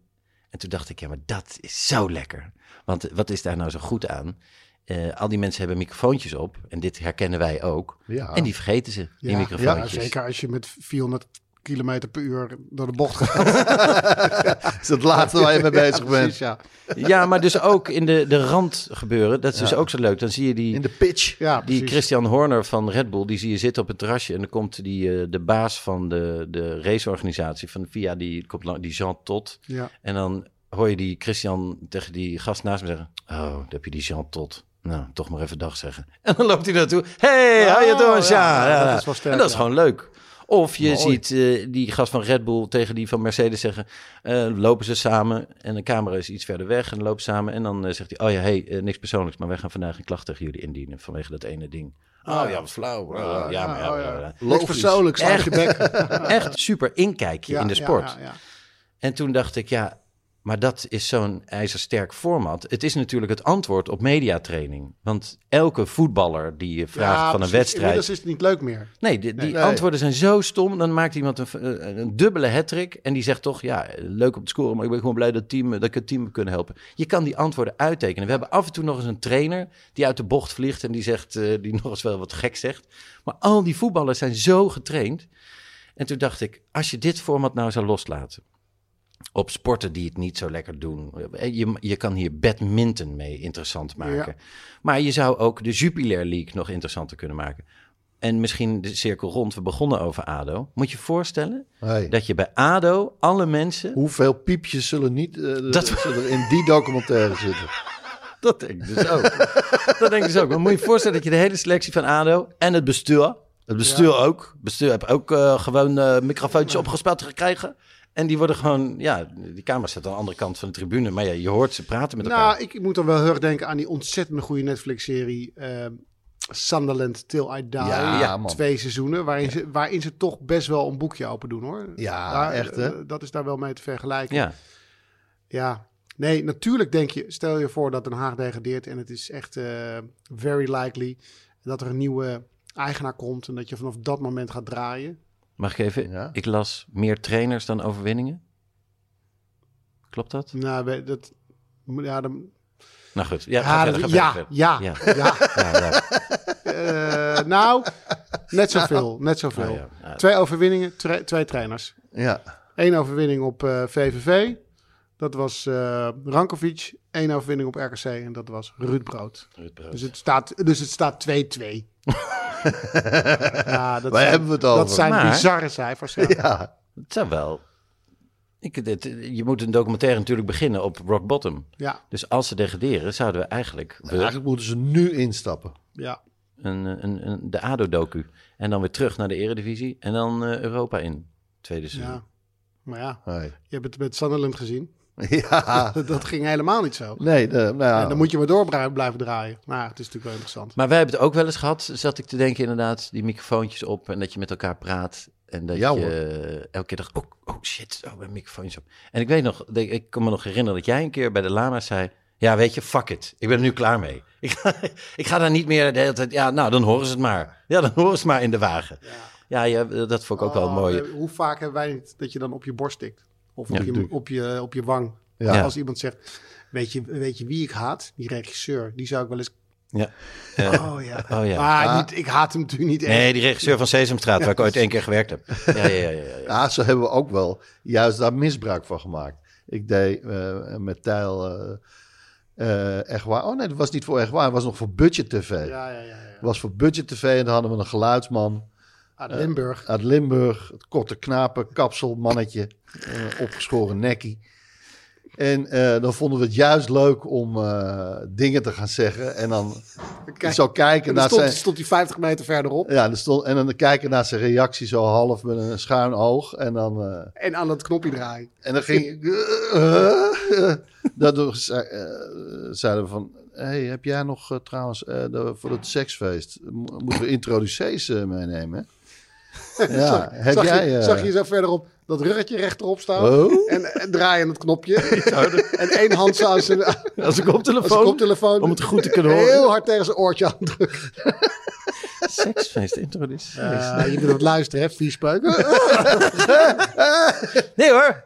C: en toen dacht ik, ja, maar dat is zo lekker. Want eh, wat is daar nou zo goed aan? Eh, al die mensen hebben microfoontjes op. En dit herkennen wij ook.
D: Ja.
C: En die vergeten ze,
B: Ja,
C: die
B: ja,
C: microfoontjes.
B: zeker als je met 400 kilometer per uur door de bocht
C: (laughs)
B: gaat.
D: Dat is het laatste waar je mee bezig bent.
B: Precies, ja.
C: Ja, maar dus ook in de, de rand gebeuren. Dat is dus ook zo leuk. Dan zie je die...
D: In de pitch.
B: ja
C: Die
B: precies.
C: Christian Horner van Red Bull, die zie je zitten op het terrasje. En dan komt die, eh, de baas van de, de raceorganisatie van VIA, die, komt lang- die Jean Tot.
B: Ja.
C: En dan hoor je die Christian tegen die gast naast me zeggen... Oh, daar heb je die Jean Tot. Nou, toch maar even dag zeggen. (laughs) En dan loopt hij naartoe. Hey, how you
B: Oh,
C: doing, Jean?
B: ja,
C: Ja,
B: dat
C: ja.
B: is wel sterk,
C: en dat is
B: ja.
C: gewoon leuk. Of je ziet eh, die gast van Red Bull tegen die van Mercedes zeggen... eh, lopen ze samen en de camera is iets verder weg en lopen samen. En dan eh, zegt hij, oh ja, hey, eh, niks persoonlijks... maar wij gaan vandaag een klacht tegen jullie indienen vanwege dat ene ding. Oh ja, wat flauw. Oh, ja, maar ja,
B: oh, ja.
C: ja, ja.
B: Niks persoonlijk, slaat je bek.
C: (laughs)
B: (laughs)
C: Echt super inkijkje
B: Ja,
C: in de
B: ja,
C: sport.
B: ja, ja.
C: En toen dacht ik, ja, maar dat is zo'n ijzersterk format. Het is natuurlijk het antwoord op mediatraining. Want elke voetballer die je vraagt
B: Ja,
C: van
B: precies.
C: een wedstrijd...
B: Inmiddels is het niet leuk meer.
C: Nee, die, die
D: Nee.
C: antwoorden zijn zo stom. Dan maakt iemand een, v- een- een dubbele hattrick en die zegt toch... ja, leuk om te scoren, maar ik ben gewoon blij dat, het team, dat ik het team heb kunnen helpen. Je kan die antwoorden uittekenen. We hebben af en toe nog eens een trainer die uit de bocht vliegt... en die, zegt, eh, die (laughs) nog eens wel wat gek zegt. Maar al die voetballers zijn zo getraind. En toen dacht ik, als je dit format nou zou loslaten... op sporten die het niet zo lekker doen... eh, je, je kan hier badminton mee interessant maken. Maar je zou ook de Jupiler League nog interessanter kunnen maken... En misschien de cirkel rond, we begonnen over ADO. Moet je je voorstellen
D: Hey.
C: dat je bij ADO alle mensen...
D: Hoeveel piepjes zullen niet eh,
C: Dat-
D: zullen er in die documentaire zitten?
C: (laughs) Dat denk ik dus ook. dat denk ik dus ook. Maar moet je je voorstellen dat je de hele selectie van ADO en het bestuur... Het bestuur ook. Het bestuur heb ook eh, gewoon eh microfoontjes opgespeld gekregen. En die worden gewoon... Ja, die camera's zitten aan de andere kant van de tribune. Maar ja, je hoort ze praten met elkaar.
B: Nou, ik moet dan wel heel erg denken aan die ontzettend goede Netflix-serie ehm, Sunderland Till I Die.
D: Ja, Ja, man.
B: Twee seizoenen, waarin, ze, waarin ze toch best wel een boekje open doen, hoor.
D: Ja,
B: Daar-
D: echt, hè?
B: eh, Dat is daar wel mee te vergelijken.
C: ja.
B: Ja. Nee, natuurlijk denk je, stel je voor dat Den Haag degradeert en het is echt eh, very likely dat er een nieuwe eigenaar komt en dat je vanaf dat moment gaat draaien.
C: Mag ik even?
D: Ja.
C: Ik las meer trainers dan overwinningen. Klopt dat?
B: Nou, we- dat, ja, dan,
C: Nou goed. Ja,
B: ja,
C: ga
B: dat-
C: verder, ga
B: Ah, ja,
C: verder.
B: ja,
C: Ja.
B: ja.
C: Ja, ja.
B: Eh, nou, net zoveel, net zoveel.
C: Nou ja, ja.
B: Twee overwinningen, tra- twee trainers.
D: Ja,
B: Eén overwinning op eh, VVV, dat was eh Rankovic. Eén overwinning op RKC en dat was Ruud Brood.
C: Ruud Brood.
B: Dus het staat, dus het staat 2-2.
D: (laughs)
B: ja, dat
D: Waar hebben we het over?
B: Dat zijn
C: Maar-
B: bizarre cijfers. Ja.
D: ja.
C: Het zou wel. Ik, dit- je moet een documentaire natuurlijk beginnen op rock bottom.
B: Ja,
C: Dus als ze degraderen, zouden we eigenlijk we-
D: Eigenlijk moeten ze nu instappen.
B: ja.
C: een, eh, een, een, de ADO-docu. En dan weer terug naar de eredivisie en dan eh, Europa in. Tweede seizoen.
B: ja. Maar ja,
D: Hey. (laughs)
B: je hebt het met Sunderland gezien.
D: Ja,
B: Dat ging helemaal niet zo.
D: nee, de, nou ja.
B: En dan moet je maar door bra- blijven draaien. Nou, het is natuurlijk wel interessant.
C: Maar wij hebben het ook wel eens gehad, zat ik te denken inderdaad, die microfoontjes op en dat je met elkaar praat. En dat
D: Ja,
C: je eh, elke keer dacht, oh, oh shit, oh, mijn microfoontjes op. En ik weet nog, ik, ik kan me nog herinneren dat jij een keer bij de lama zei, ja weet je, fuck it, ik ben er nu klaar mee. (laughs) Ik ga, ik ga daar niet meer de hele tijd, ja nou dan horen ze het maar. Ja, dan horen ze het maar in de wagen. Ja, ja, dat vond ik ook wel
B: Oh,
C: mooi.
B: eh, Hoe vaak hebben wij niet dat je dan op je borst tikt? Of op,
C: Ja.
B: je, op, je, op je wang.
D: Ja.
B: Als iemand zegt, weet je, weet je wie ik haat? Die regisseur, die zou ik wel eens...
C: Ja.
B: Oh ja.
C: Oh ja.
B: Maar niet, ik haat hem natuurlijk niet echt.
C: Nee, die regisseur van Sesamstraat, waar ik ooit één keer gewerkt heb. Ja, ja, ja. ja, ja.
D: Ja, zo hebben we ook wel juist daar misbruik van gemaakt. Ik deed eh, met Tijl eh eh, echt waar. Oh nee, dat was niet voor echt waar. Het was nog voor budget TV.
B: Ja, ja, ja. ja.
D: Het was voor budget TV en dan hadden we een geluidsman
B: Uit Limburg.
D: uit Limburg. Het korte knapen, kapsel, mannetje, eh, opgeschoren nekkie. En eh, dan vonden we het juist leuk om eh, dingen te gaan zeggen. En dan
B: Kijk,
D: zo kijken
B: en dan
D: naar
B: stond,
D: zijn...
B: stond hij 50 meter verderop.
D: Ja, dan stond, en dan kijken naar zijn reactie zo half met een schuin oog. En dan... eh,
B: En aan dat knopje draaien.
D: En dan ging ik... eh, eh, daardoor ze- eh, zeiden we van... hey, heb jij nog eh, trouwens eh, de- voor het seksfeest... mo- moeten we introducees eh,
B: (laughs)
D: meenemen? Ja, heb
B: zag,
D: jij...
B: je,
D: eh,
B: zag je zo verderop dat ruggetje rechterop staan.
D: Oh.
B: En, en draaien het knopje. en één hand zou zijn, als
C: Als ik op
B: een koptelefoon.
C: Om het goed te kunnen horen.
B: Heel hard tegen zijn oortje aandrukken.
C: Seksfeest, introduceer.
B: Eh, je moet het luisteren, hè, viespeuk.
C: Nee hoor.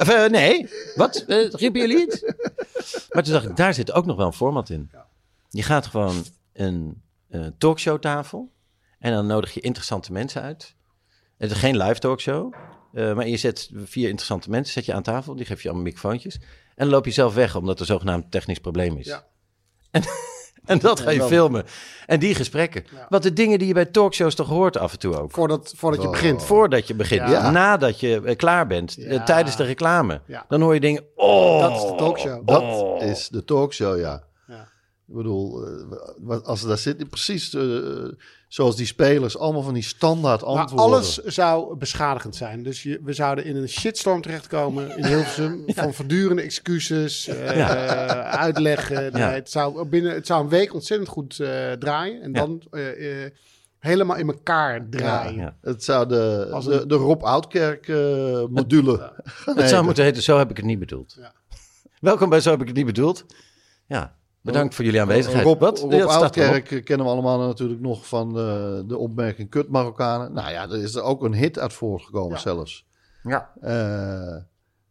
C: Of, eh, nee. Wat? Eh, riepen jullie het? Maar toen dacht ik, daar zit ook nog wel een format in. Je gaat gewoon een eh, talkshowtafel. En dan nodig je interessante mensen uit. Het is geen live talkshow. eh, maar je zet vier interessante mensen zet je aan tafel. Die geef je allemaal microfoontjes. En dan loop je zelf weg, omdat er zogenaamd een technisch probleem is.
B: Ja.
C: En, en dat ga je filmen. En die gesprekken. Want de dingen die je bij talkshows toch hoort af en toe ook.
B: voordat voordat je begint.
C: Voordat je begint,
B: Oh. Ja.
C: nadat je eh, klaar bent, eh,
B: Ja.
C: tijdens de reclame.
B: Ja.
C: Dan hoor je dingen, oh,
B: Dat is de talkshow.
D: (laughs) Dat is de talkshow, ja.
B: Ja.
D: Ik bedoel, eh, wat- als ze daar zitten, precies eh, zoals die spelers, allemaal van die standaard
B: Maar
D: antwoorden.
B: alles zou beschadigend zijn. Dus je, we zouden in een shitstorm terechtkomen in Hilversum. Van voortdurende excuses, eh, uitleggen.
C: Ja.
B: Nee, het, zou binnen, het zou een week ontzettend goed eh, draaien. En
C: Ja.
B: dan eh, eh, helemaal in elkaar draaien.
C: Ja.
D: Het zou de,
B: Als
D: de, de Rob Oudkerk eh, module gaan
C: Het zou
D: heten.
C: moeten heten, zo heb ik het niet bedoeld. Welkom bij Zo heb ik het niet bedoeld. Ja, bedankt voor jullie aanwezigheid.
D: Rob,
C: Wat?
D: Rob
C: Ja, dat staat erop.
D: Oudkerk kennen we allemaal natuurlijk nog van eh, de opmerking kut Marokkanen. Nou ja, er is er ook een hit uit voortgekomen zelfs.
C: Ja.
D: Eh,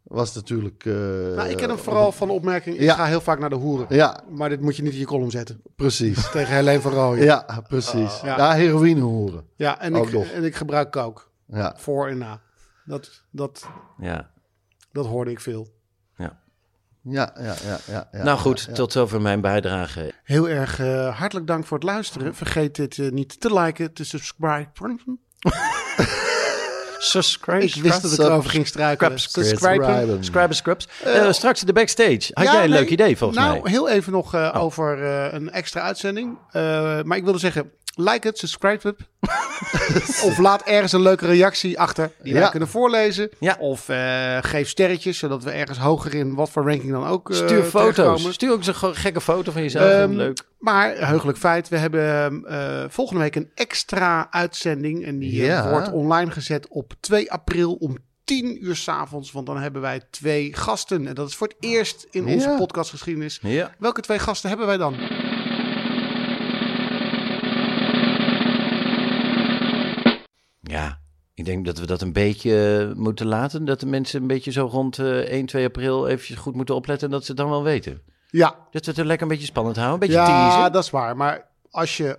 D: was natuurlijk... eh,
B: Nou, ik ken hem vooral van de opmerking, ik
D: Ja.
B: ga heel vaak naar de hoeren.
D: Ja,
B: Maar dit moet je niet in je column zetten. (laughs)
D: precies.
B: Tegen Helene van Rooyen. Ja,
D: Ja, precies.
B: Oh, Ja.
D: ja. heroïne horen.
B: en,
D: Ook
B: ik,
D: nog.
B: en ik gebruik kook.
D: Ja.
B: Voor en na. Dat, dat,
C: Ja.
B: dat hoorde ik veel.
D: Ja, ja, ja, ja, ja.
C: nou goed, tot zover mijn bijdrage.
B: Heel erg eh, hartelijk dank voor het luisteren. Vergeet dit eh, niet te liken, te subscriben.
C: Subscribe.
B: Ik wist dat ik erover ging struikelen.
C: Subscribe.
D: Subscriben.
C: Subscribe. Scrubs. Eh, straks de backstage.
B: Ja,
C: Had jij een
B: nee.
C: leuk idee volgens
B: nou,
C: mij? Oh.
B: heel even nog eh, over eh, een extra uitzending. Eh, maar ik wilde zeggen, like het, subscribe
C: (laughs)
B: het. of laat ergens een leuke reactie achter die wij
D: Ja.
B: kunnen voorlezen.
C: Ja.
B: Of eh, geef sterretjes, zodat we ergens hoger in wat voor ranking dan ook eh,
C: Stuur foto's.
B: terechtkomen.
C: Stuur ook zo'n gekke foto van jezelf.
B: Ehm,
C: leuk.
B: Maar heugelijk feit, we hebben eh, volgende week een extra uitzending. En die eh,
D: Ja.
B: wordt online gezet op 2 april om 10 uur s'avonds. Want dan hebben wij twee gasten. En dat is voor het eerst in onze
D: Ja.
B: podcastgeschiedenis.
C: Ja.
B: Welke twee gasten hebben wij dan?
C: Ja, ik denk dat we dat een beetje eh, moeten laten. Dat de mensen een beetje zo rond eh, 1, 2 april eventjes goed moeten opletten. En dat ze het dan wel weten.
B: Ja,
C: Dat we het er lekker een beetje spannend houden. Een beetje
B: ja
C: teasen.
B: dat is waar. Maar als je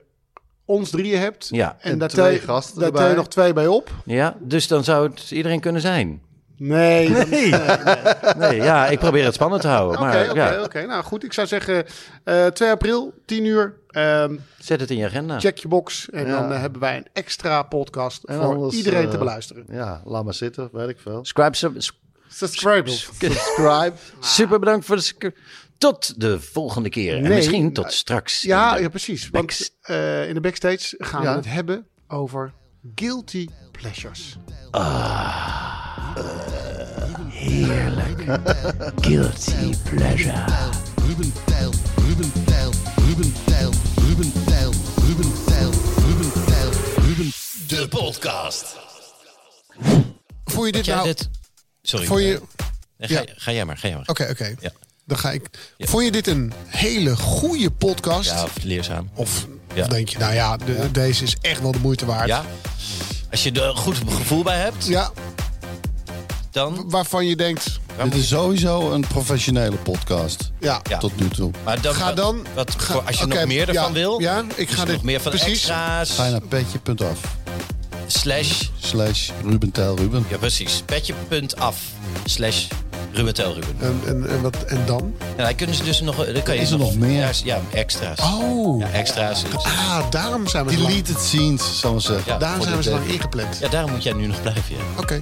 B: ons drieën hebt
C: Ja.
B: en,
D: En
B: daar
D: twee
B: twee
D: gasten
B: daar
D: erbij.
B: tel je nog twee bij op.
C: ja, dus dan zou het iedereen kunnen zijn.
B: Nee. Oké,
C: Nee, ja, ik probeer het spannend te houden. Maar
B: oké,
C: ja,
B: oké. Nou goed, ik zou zeggen eh 2 april, 10 uur. Ehm,
C: zet het in je agenda.
B: check je box. En
D: Ja.
B: dan eh, hebben wij een extra podcast
D: En
B: voor
D: anders,
B: iedereen
D: eh,
B: te beluisteren.
D: Ja, laat maar zitten, weet ik
C: (laughs)
D: veel.
C: Subscribe, sub- s-
B: Subscribe.
D: Subscribe.
G: Ah.
C: super bedankt voor de... sc- Tot de volgende keer. en
B: Nee,
C: misschien
B: nou,
C: tot straks.
B: Ja,
C: in de
B: ja, precies. Want eh, in de backstage gaan
D: Ja.
B: we het hebben over guilty pleasures.
C: Ah. Guilty Pleasure.
H: Ruben Tijl, Ruben Tijl, Ruben Tijl, Ruben Tijl, Ruben Tijl, Ruben Tijl, Ruben... De podcast.
I: Voel je dit
G: Ja,
I: nou...
G: dit- Sorry.
I: Vond je...
G: Nee, ga,
I: ja.
G: ga jij maar, ga jij maar.
I: Oké, oké.
G: Ja.
I: Dan ga ik... Vond je dit een hele goede podcast?
G: Ja, of leerzaam.
I: Of,
G: Ja.
I: of denk je, nou ja, de- deze is echt wel de moeite waard?
G: Ja. Als je er een goed gevoel bij hebt,
I: Ja,
G: dan...
I: waarvan je denkt...
D: Dit is sowieso een professionele podcast.
I: Ja,
G: Ja.
D: Tot nu toe.
G: Maar dan,
I: ga
G: wat-
I: dan...
G: Wat,
I: ga-
G: voor- als je
I: oké,
G: nog meer ervan
I: ja,
G: wil,
I: Ja, ik
G: als
I: ga
G: je
I: dit...
G: nog meer van de
I: precies,
G: extra's,
D: Ga je naar petje.af
G: slash...
D: slash Ruben Tijl Ruben.
G: Ja, precies. Petje.af slash Ruben Tel Ruben.
I: En, en, en, wat, en dan?
G: En daar kunnen ze dus nog... Dan kan je
D: Is er nog meer?
G: Ja, ja, extra's.
I: Oh,
G: Ja, extra's.
I: ah, daarom zijn we zo lang,
D: Deleted scenes, zal ik zeggen.
G: Ja,
I: daarom
G: voor
I: zijn we
G: dit,
I: zo lang
G: eh,
I: ingepland.
G: Ja, daarom moet jij nu nog blijven, ja.
I: Oké.